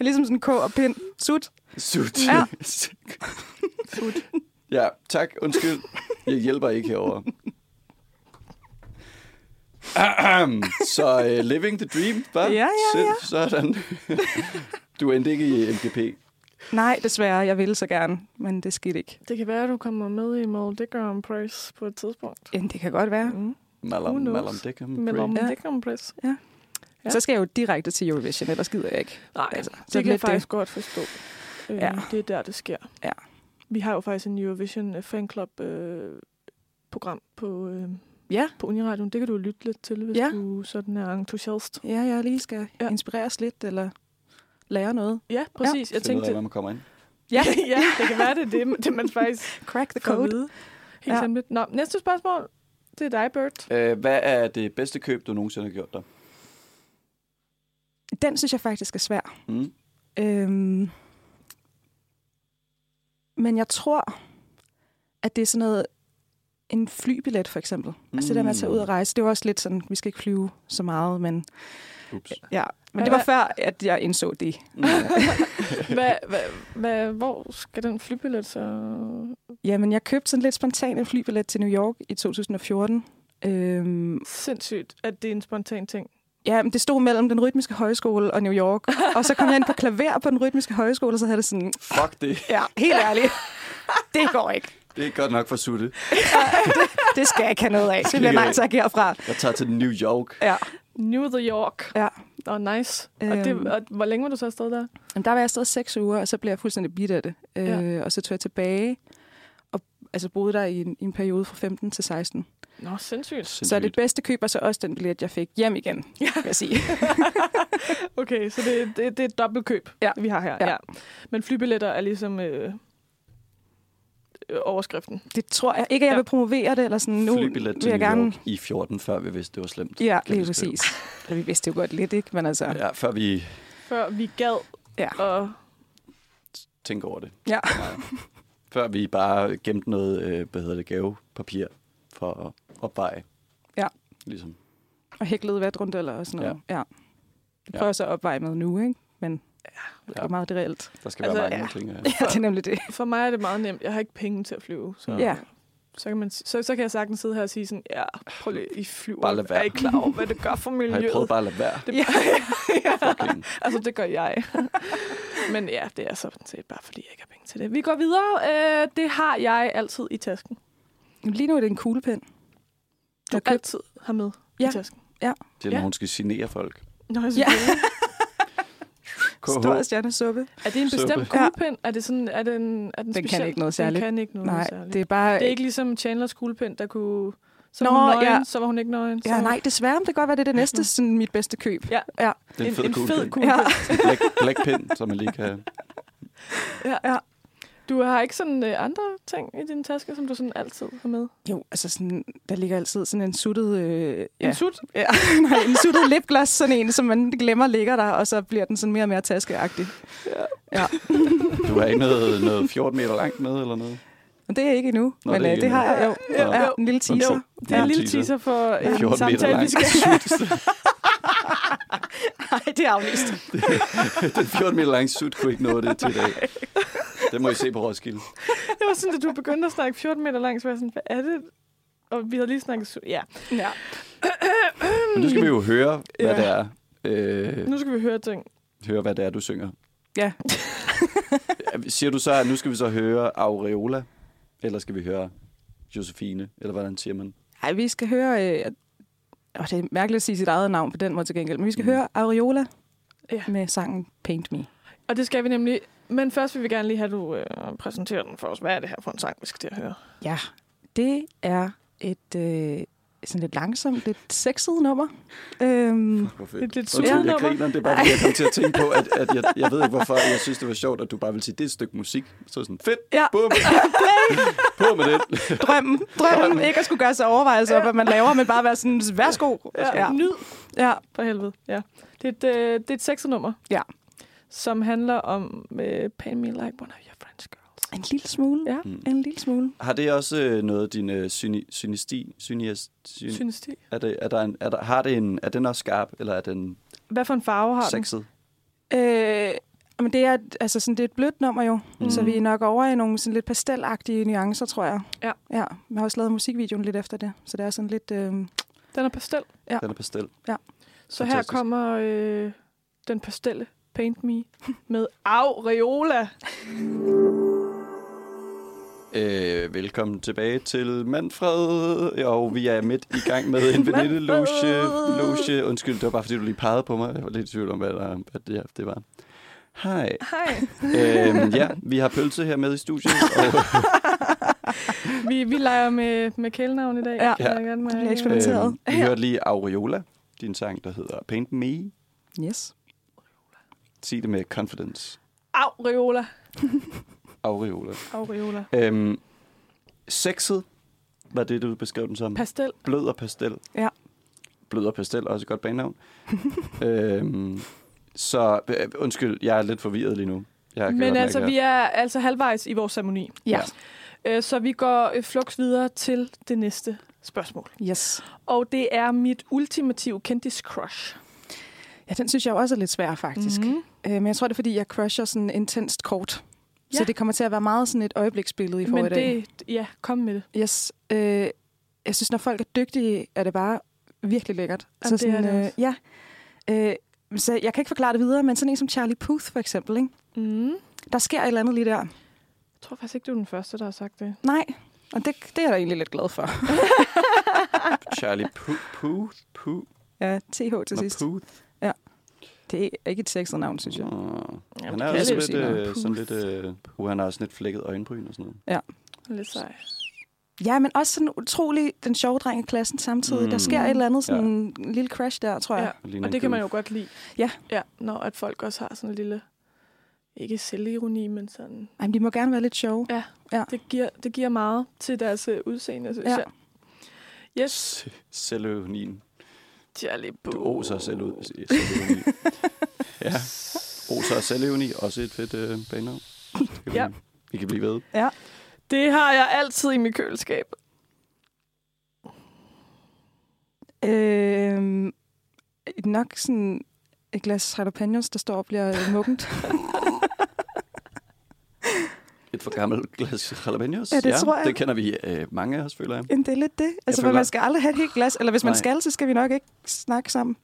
er Ligesom sådan K og pind. Sut.
Sut.
Ja.
Sut. Ja, tak. Undskyld. Jeg hjælper ikke herovre. Ahem. Så uh, living the dream, hva'?
Ja, ja, ja.
Sind- Sådan. Du endte ikke i MGP.
Nej, desværre. Jeg ville så gerne, men det skete ikke.
Det kan være, at du kommer med i Mall Grand Prix på et tidspunkt.
Ja, det kan godt være.
Mm.
Malum,
Who knows?
Malum Dickham.
Mellem
Ja.
ja. Grand Prix. Ja.
Ja. Så skal jeg jo direkte til Eurovision, ellers gider jeg ikke.
Nej,
Altså, så
det kan
lidt
jeg
det.
faktisk godt forstå. Øh,
Ja.
Det er der, det sker.
Ja.
Vi har jo faktisk en Eurovision øh, Fanclub øh, program på, øh,
Ja.
på Uniradion. Det kan du lytte lidt til, hvis
Ja.
du sådan er entusiast.
Ja, jeg lige skal
Ja.
ja. inspireres lidt, eller lære noget.
Ja, præcis. Ja. Jeg
Find ud af,
tænkte,
når man kommer ind.
Ja,
ja, det kan være, det er det, det man faktisk
crack the
får at
code.
vide. Helt
Ja.
ja. Nå, næste spørgsmål. Det er dig, Bert.
Øh, hvad er det bedste køb, du nogensinde har gjort dig?
Den synes jeg faktisk er svær.
Mm.
Øhm, men jeg tror, at det er sådan noget, en flybillet for eksempel. Mm. Altså det der med at tage ud
Hmm.
og rejse, det var også lidt sådan, vi skal ikke flyve så meget, men,
Ups.
ja. men det
Hvad-
var før, at jeg indså det.
Mm.
Hvad, hvad, hvad, hvor skal den flybillet så...
Jamen, jeg købte sådan lidt spontan en flybillet til New York i 2014. Øhm,
Sindssygt, at det er en spontan ting.
Ja, men det stod mellem den rytmiske højskole og New York. Og så kom jeg ind på klaver på den rytmiske højskole, og så havde det sådan,
Fuck det.
ja, helt ærligt, det går ikke.
Det er godt nok for sutte.
Det skal jeg ikke have noget af. Det bliver nej tak herfra.
Jeg tager til New York.
Ja.
New the York.
Ja.
Og nice. Og,
Øhm.
det, og hvor længe var du så afsted der?
Jamen, der var jeg afsted seks uger, og så blev jeg fuldstændig bidt af det.
Ja.
Øh, og så tog jeg tilbage, og altså, boede der i en, i en periode fra 15 til 16.
Nå, sindssygt.
Så det bedste køb var så også den billet, jeg fik hjem igen,
Ja.
vil jeg sige.
Okay, så det, det, det er et dobbeltkøb,
Ja.
vi har her.
Ja.
Men flybilletter er ligesom øh, øh, overskriften.
Det tror jeg ikke, at jeg
Ja.
vil promovere det, eller sådan, nu
Flybillet
vil
til
jeg
New
gerne...
York i 14, før vi vidste, det var slemt.
Ja,
Kan
lige
vi skrive.
præcis. Eller vi vidste jo godt lidt, ikke? Men altså,
Ja, før vi
Før vi gad
Ja.
og
tænker over det.
Ja.
for meget. Før vi bare gemte noget, øh, hvad hedder det, gavepapir for at opveje.
Ja.
Ligesom.
Og hæklede vatrundeller og sådan noget. Ja. ja. Det prøver jeg så at opveje med nu, ikke? Men ja, det er meget det reelt.
Der skal
Altså,
være mange
ja.
ja. ting. øh. Ja.
Ja, det er nemlig det.
For mig er det meget nemt. Jeg har ikke penge til at flyve. Så,
Ja.
så, kan, man, så, så kan jeg sagtens sidde her og sige sådan, ja, prøv lige, I flyver.
Bare lad være.
Er I klar over, hvad det gør for
Har I
miljøet?
prøvet bare at lade være?
det,
Ja.
ja.
Fucking.
altså, det gør jeg. Men ja, det er sådan set bare, fordi jeg ikke har penge til det. Vi går videre. Øh, det har jeg altid i tasken.
Jamen, Lige nu er det en kuglepen.
Du
Du
okay. altid har med ja.
Ja.
i tasken.
Det er, når
Ja.
hun skal signere folk.
Nå, jeg
Ja.
ja.
Stor stjernesuppe.
Er det en bestemt
Suppe.
Ja.
kuglepind? Er det sådan, er den, er den,
Den kan
speciel?
ikke noget særligt.
Den kan ikke noget
Nej,
særligt.
det er bare...
det er ikke ligesom Chandlers kuglepind, der kunne... Så var
Nå,
hun nøgen,
ja.
så var hun ikke nøgen. så var
Ja,
hun-
nej, desværre. men Det kan godt være, det er det næste, sådan mit bedste køb.
Ja.
Ja.
Det er en, fed kuglepind.
fed
Ja.
kuglepind.
Black, blackpind, som man lige kan...
Ja. ja. Du har ikke sådan øh, andre ting i din taske, som du sådan altid har med?
Jo, altså sådan, der ligger altid sådan en suttet... Øh,
Ja. En sut?
ja, nej, en suttet lipgloss, sådan en, som man glemmer ligger der, og så bliver den sådan mere og mere taskeagtig.
Du har ikke noget, noget 14 meter langt med eller noget?
Men det er ikke endnu,
Nå,
men
det er
det,
ikke
øh, det har
endnu.
jeg jo.
Nå.
Ja, en lille teaser.
Det er en lille
Teaser.
teaser for en
14 meter
samtale, vi
langt.
skal
Nej, det er aflyst.
Den 14 meter lange sut kunne ikke nå det til i dag. Det må I se på Roskilde.
Det var sådan, at du begyndte at snakke 14 meter langt, så var jeg sådan, hvad er det? Og vi havde lige snakket... su- Ja.
Ja.
Men nu skal vi jo høre, hvad
Ja.
det er. Øh,
Nu skal vi høre ting.
høre, hvad det er, du synger.
Ja.
Siger du så, at nu skal vi så høre Aureola, eller skal vi høre Josefine, eller hvordan siger man?
Ej, vi skal høre... Øh, åh, det er mærkeligt at sige sit eget navn på den måde til gengæld, men vi skal
Mm.
mm. høre Aureola
Ja.
ja. med sangen Paint Me.
Og det skal vi nemlig. Men først vil vi gerne lige have, at du øh, præsenterer den for os. Hvad er det her for en sang, vi skal til at høre?
Det er et øh, sådan lidt langsomt, lidt sexet nummer. Øhm,
Hvor fedt.
det er lidt
Undskyld,
surt
jeg
nummer.
griner, det er bare, fordi jeg kom til at tænke på, at, at jeg, jeg ved ikke, hvorfor jeg synes, det var sjovt, at du bare ville sige, det er et stykke musik. Så sådan, fedt,
Ja.
bum, på med det.
Drømmen. Drømmen. Ikke at skulle gøre sig overvejelser om, hvad man laver, men bare være sådan, værsgo.
Ja. Nyd
ja.
for helvede. Ja. Det er et, øh, det er et sexenummer.
Ja.
Som handler om øh, Pain Me Like One of Your French Girls.
En lille smule.
Ja.
Mm.
En lille smule.
Har det også øh, noget af din øh, syni, synisti? Synias, syn,
Synes Synesti.
er, det, er, der en, er, der, har det en, er den også skarp, eller er den
Hvad for en farve har den?
sexet?
Øh, men det er, et- altså sådan, det er et blødt nummer jo, mm. så vi er nok over i nogle sådan lidt pastelagtige nuancer, tror jeg.
Ja.
ja. Jeg har også lavet musikvideoen lidt efter det, så det er sådan lidt... Øh,
Den er pastel.
Den er pastel.
Så
Fantastisk.
her kommer øh, den pastelle Paint Me med Aureola.
Øh, velkommen tilbage til Manfred, og vi er midt i gang med en venindeloge. Loge. Undskyld, det var bare fordi, du lige pegede på mig. Jeg var lidt i tvivl om, hvad, der, hvad det, her, det var. Hej.
Hej.
Øhm, ja, vi har pølse her med i studiet. Og,
Vi, vi leger med, med kælenavn i dag.
Ja.
kan jeg gerne
det
mærke.
bliver eksperimenteret.
øhm, vi hørte lige Aureola, din sang, der hedder Paint Me.
Yes.
Sig det med confidence.
Aureola.
Aureola.
Aureola.
Øhm, sexet var det, du beskrev den som.
Pastel.
Blød og pastel.
Ja.
Blød og pastel er også et godt banenavn. øhm, så øh, undskyld, jeg er lidt forvirret lige nu. Jeg kan godt
Men
mærke
altså,
det.
vi er altså halvvejs i vores ceremoni.
Ja.
Øh, Så vi går øh, flux videre til det næste spørgsmål.
Yes.
Og det er mit ultimative kendis crush.
Ja, den synes jeg også er lidt svær, faktisk. Mm.
Mm-hmm.
Øh, men jeg tror, det er, fordi jeg crusher sådan intenst kort. Ja. Så
Ja.
det kommer til at være meget sådan et øjebliksbillede, I får
Men
i dag.
det, ja, kom med det.
Yes. Øh, jeg synes, når folk er dygtige, er det bare virkelig lækkert.
Jamen, det er det
øh,
også.
ja. Øh, så jeg kan ikke forklare det videre, men sådan en som Charlie Puth for eksempel, ikke?
Mm.
der sker et eller andet lige der.
Jeg tror faktisk ikke, du er den første, der har sagt det.
Nej, og det, det er jeg da egentlig lidt glad for.
Charlie Puth. Puth. Puth.
Ja, TH til
Nå,
sidst.
Puth.
Det er ikke et sexet navn, synes jeg.
Nå. Han
Jamen,
er
det
også
kan
lidt,
jeg
øh,
sige.
sådan lidt... Øh, uh, han har også sådan lidt flækket øjenbryn og sådan noget.
Lidt sej.
Ja, men også sådan utrolig den sjove dreng i klassen samtidig. Mm. Der
Mm.
sker et eller andet sådan en lille crash der, tror jeg.
Ja.
ligner
Og
en
det kan man jo
goof.
godt lide.
Ja.
ja. Når at folk også har sådan en lille, ikke selvironi, men sådan,
Ej, men de må gerne være lidt sjove.
det giver, det giver meget til deres øh, udseende, synes
Ja.
ja. jeg. Yes,
Se- Selvøvnien.
Charlie Boo.
Du oser selv ud. se- Selvøvni. ja. Oser og selvøvni. Også et fedt øh, banenavn. Det kan
Ja.
vi- Vi kan blive ved.
Det har jeg altid i mit køleskab.
Øhm, nok sådan et glas jalapenos, der står og bliver øh, muggent.
Et for gammelt glas jalapenos.
Ja, det tror jeg.
Det kender vi øh, mange af os, føler jeg.
Jamen, det er lidt det. Altså, men
føler-
man skal aldrig have et helt glas. Eller hvis man
Nej.
skal, så skal vi nok ikke snakke sammen.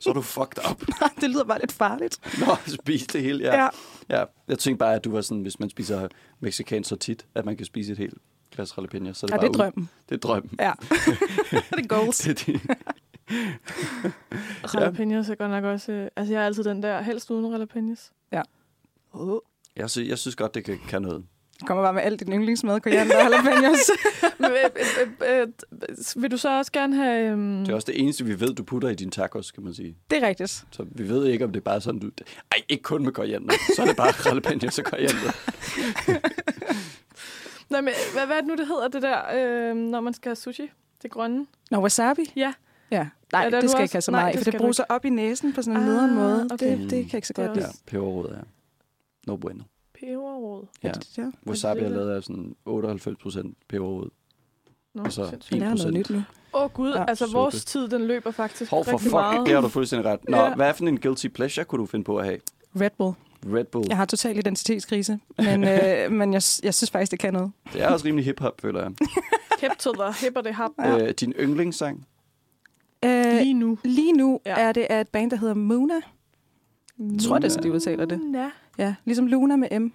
Så er du fucked up.
Nej, det lyder bare lidt farligt.
Nå, spis det hele. Ja. ja. ja. Jeg tænkte bare, at du var sådan, hvis man spiser mexikansk så tit, at man kan spise et helt glas jalapenos. Så er det,
Ja,
bare
det er
ud.
drømmen.
Det er drømmen.
Ja. det er goals.
Det er din-
Jalapenos er godt nok også... Øh, altså, jeg er altid den der, helst uden jalapenos.
jeg, synes, jeg synes godt, det kan, kan noget.
Jeg kommer bare med alt din yndlingsmad, koriander og jalapenos.
Men, øh, øh, øh, øh, vil du så også gerne have... Øhm,
Det er også det eneste, vi ved, du putter i din tacos, kan man sige.
det er rigtigt.
Så vi ved ikke, om det er bare sådan, du... Ej, ikke kun med koriander. Så er det bare jalapenos og koriander.
nej, men, øh, hvad, hvad er det nu, det hedder, det der, øh, når man skal have sushi? Det grønne?
Nå, wasabi?
Ja.
Ja. Nej,
Er
det,
det
det
du
skal
også?
jeg ikke have så
Nej,
meget,
det
for det
skal du
bruser op i næsen på sådan
Ah,
en nederen måde.
okay.
Det, det kan jeg ikke så
Det er
godt lide.
Ja, peberrod er. No bueno.
Peberrod.
Ja.
Ja.
Wasabi er lavet af sådan 98 procent peberrod.
Nå,
Og så
sindssygt.
Jeg lærer
1%.
noget nyt nu.
Åh oh, gud,
Ja,
ja, altså
suppe.
vores tid, den løber faktisk
Hov for
rigtig
fuck,
meget.
det har du fuldstændig ret. Nå,
Ja.
hvad for en guilty pleasure kunne du finde på at have?
Red Bull.
Red Bull.
Jeg har total identitetskrise, men, øh, men jeg, jeg synes faktisk, det kan noget.
Det er også rimelig hip-hop, føler jeg.
Hip to the hip og det hop.
Ja.
Øh, din yndlingssang?
Øh,
Lige nu.
lige nu
Ja.
er det af et band, der hedder Muna. Jeg tror, det er sådan, de udtaler det.
Ja.
Ja, ligesom Luna med M.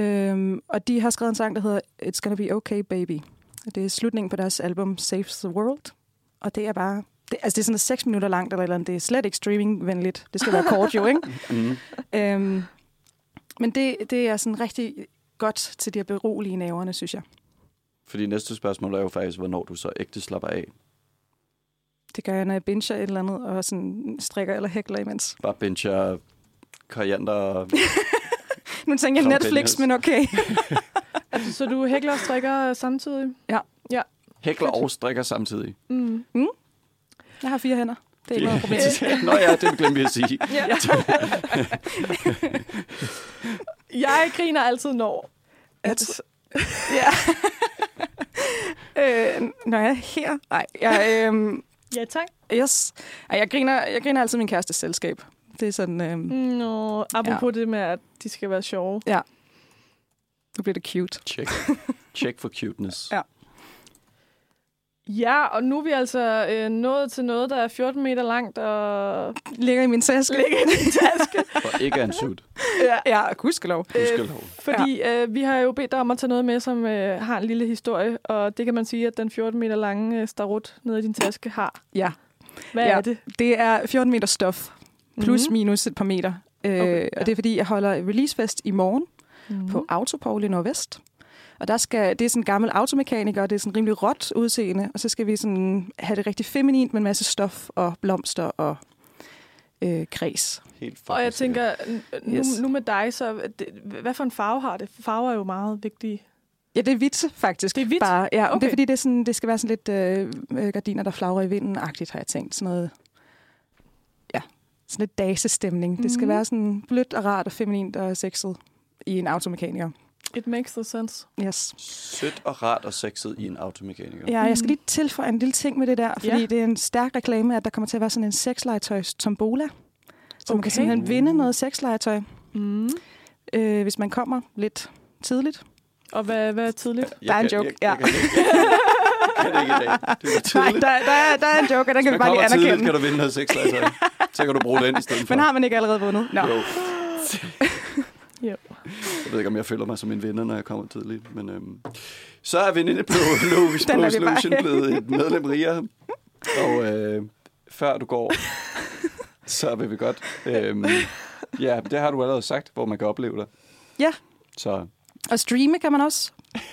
Øhm, og de har skrevet en sang, der hedder It's Gonna Be Okay Baby. Og det er slutningen på deres album Saves the World. Og det er bare... Det, altså, det er sådan 6 minutter langt eller et eller andet. Det er slet ikke streamingvenligt. Det skal være kort jo, ikke?
Mm.
Øhm, men det, det er sådan rigtig godt til de her berolige naverne, synes jeg.
Fordi næste spørgsmål er jo faktisk, hvornår du så ægte slapper af.
Det gør jeg, når jeg binger et eller andet, og sådan strikker eller hækler imens.
Bare bencher koriander og
Nu tænker jeg
Som
Netflix,
Benjas.
men okay.
Altså, så du hækler og strikker øh, samtidig?
hækler og strikker samtidig.
Mm. Jeg har fire hænder. Det er ikke noget problem.
Yeah. Nå ja, det glemte vi at sige.
Jeg griner altid, når...
At, ja. øh, når jeg er her... Nej, jeg, øhm,
Ja, tak.
yes. Ej, jeg, griner, jeg griner altid min kærestes selskab. Det er sådan... Øhm, mm.
Nå, apropos ja. det med, at de skal være sjove.
Nu bliver det cute.
Check. Check for cuteness.
Ja.
Ja, og nu er vi altså øh, nået til noget, der er 14 meter langt, og
Ligger i min taske. Ligger i min taske.
For ikke er en sut.
ja, ja, gudskelov.
Gudskelov.
Fordi ja. øh, vi har jo bedt dig om at tage noget med, som øh, har en lille historie, og det kan man sige, at den 14 meter lange øh, starut nede i din taske har.
Ja.
Hvad
Ja.
er det?
Det er 14 meter stof. Plus
Mhm.
mm-hmm. minus et par meter. Øh,
Okay,
okay, ja. Og det er, fordi jeg holder releasefest i morgen.
Mm.
på Autopol i Nordvest. Og der skal, det er sådan en gammel automekaniker, og det er sådan rimelig råt udseende. Og så skal vi sådan have det rigtig feminint med en masse stof og blomster og øh, kreds.
Helt fucking
Og jeg
sikkert.
tænker, n- nu,
Yes.
nu med dig, så øh, det, hvad for en farve har det? Farver er jo meget vigtige.
Ja, det er hvidt faktisk.
Det er hvidt?
Bare, ja, okay. Det
Okay.
er fordi, det, er sådan, det skal være sådan lidt øh, øh, gardiner, der flagrer i vinden-agtigt, har jeg tænkt. Sådan noget, ja, sådan lidt dasestemning. Mm-hmm. Det skal
Mhm.
være sådan blødt og rart og feminint og sexet i en automekaniker.
It makes the sense.
Yes.
Sødt og rart og sexet i en automekaniker.
Ja, jeg skal lige tilføje en lille ting med det der, fordi
Ja.
Mhm. ja. det er en stærk reklame, at der kommer til at være sådan en sexlegetøjs tombola. Så okay. man
Okay.
kan simpelthen vinde noget sexlegetøj,
Mm.
øh, hvis man kommer lidt tidligt.
Og hvad, hvad er tidligt?
Der er en
kan-
joke,
Jeg, jeg,
ja.
kan ikke- jeg kan det ikke i dag. Det er
Nej,
tidligt.
der, der, er, der er en joke, og den kan
Man
vi bare lige
kommer tidligt, kan
anerkende.
du vinde noget sexlegetøj. Så kan du bruge den i stedet for.
Men har man ikke allerede vundet? Nå.
Jo.
Jo.
Jeg ved ikke, om jeg føler mig som en vinder, når jeg kommer tidligt, men øhm, så er vi inde på Logisk
Den lader vi bare
Solution
hænge.
blevet et medlem rigere. Og øh, før du går, så vil vi godt. Øhm, ja, det har du allerede sagt, hvor man kan opleve dig.
Ja.
Så
Og streame kan man også.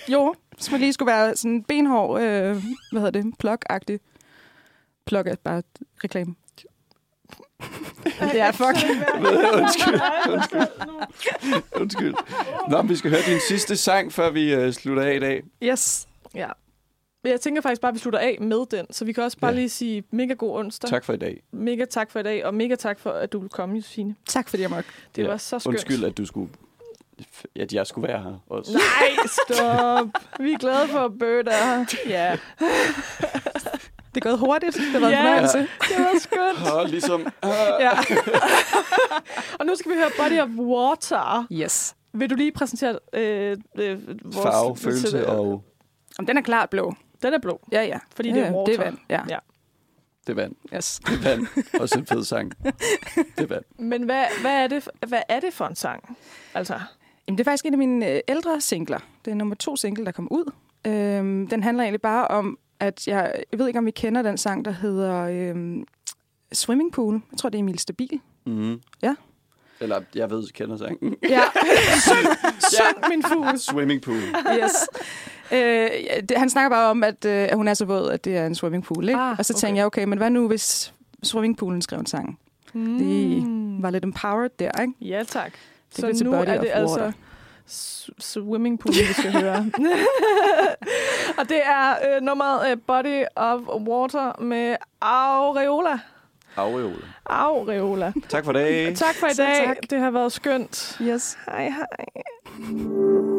Jo, hvis man lige skulle være sådan benhård, øh, hvad hedder det, plug-agtig. Plug er bare reklame. Ja, fuck.
undskyld, undskyld, undskyld. Nå, men vi skal høre din sidste sang, før vi øh, slutter af i dag.
Yes.
Ja. Jeg tænker faktisk bare, at vi slutter af med den, så vi kan også bare
Ja.
ja. lige sige mega god onsdag.
Tak for i dag.
Mega tak for i dag, og mega tak for, at du ville komme, Josefine.
Tak fordi jeg måtte.
Det
Ja.
ja. var så skønt.
Undskyld, at du skulle at jeg skulle være her også.
Nej, stop. Vi er glade for Bird er her. Ja,
Det er gået hurtigt. Det har været
Ja.
en fornøjelse.
det var skønt.
Og ligesom...
Ja. og nu skal vi høre Body of Water.
Yes.
Vil du lige præsentere øh, øh, vores...
farve, følelse og
Om den er klart blå.
Den er blå,
Ja, ja.
fordi
ja,
det er
ja,
water.
Det er vand, ja.
Ja.
ja.
det er vand.
Yes.
Det er vand. Også en fed sang. Det er vand.
Men hvad, hvad, er det, hvad er det for en sang? Altså,
Jamen, det er faktisk en af mine øh, ældre singler. Det er nummer to single, der kom ud. Øhm, den handler egentlig bare om, at jeg, jeg ved ikke, om I kender den sang, der hedder øhm, Swimming Pool. Jeg tror, det er Emil Stabil.
Mm.
Ja.
Eller, jeg ved, kender sangen.
Ja,
Syng min fugl.
Swimming pool.
yes. Øh, det, han snakker bare om, at, øh, at hun er så våd, at det er en swimmingpool. Ikke?
Ah,
og så tænker
okay.
jeg, okay, men hvad nu, hvis swimmingpoolen skrev en sang? Mm. Det var lidt empowered der, ikke?
Ja, tak. Det
blev
Mm. så
til
nu
Body
er
of
det altså
Water.
s- swimming pool, vi skal høre. og det er øh, nummeret øh, Body of Water med Aureola.
Aureola.
Aureola.
Tak for i dag.
Tak for i
Selv
dag.
tak.
Det har været skønt.
Yes.
Hej, hej.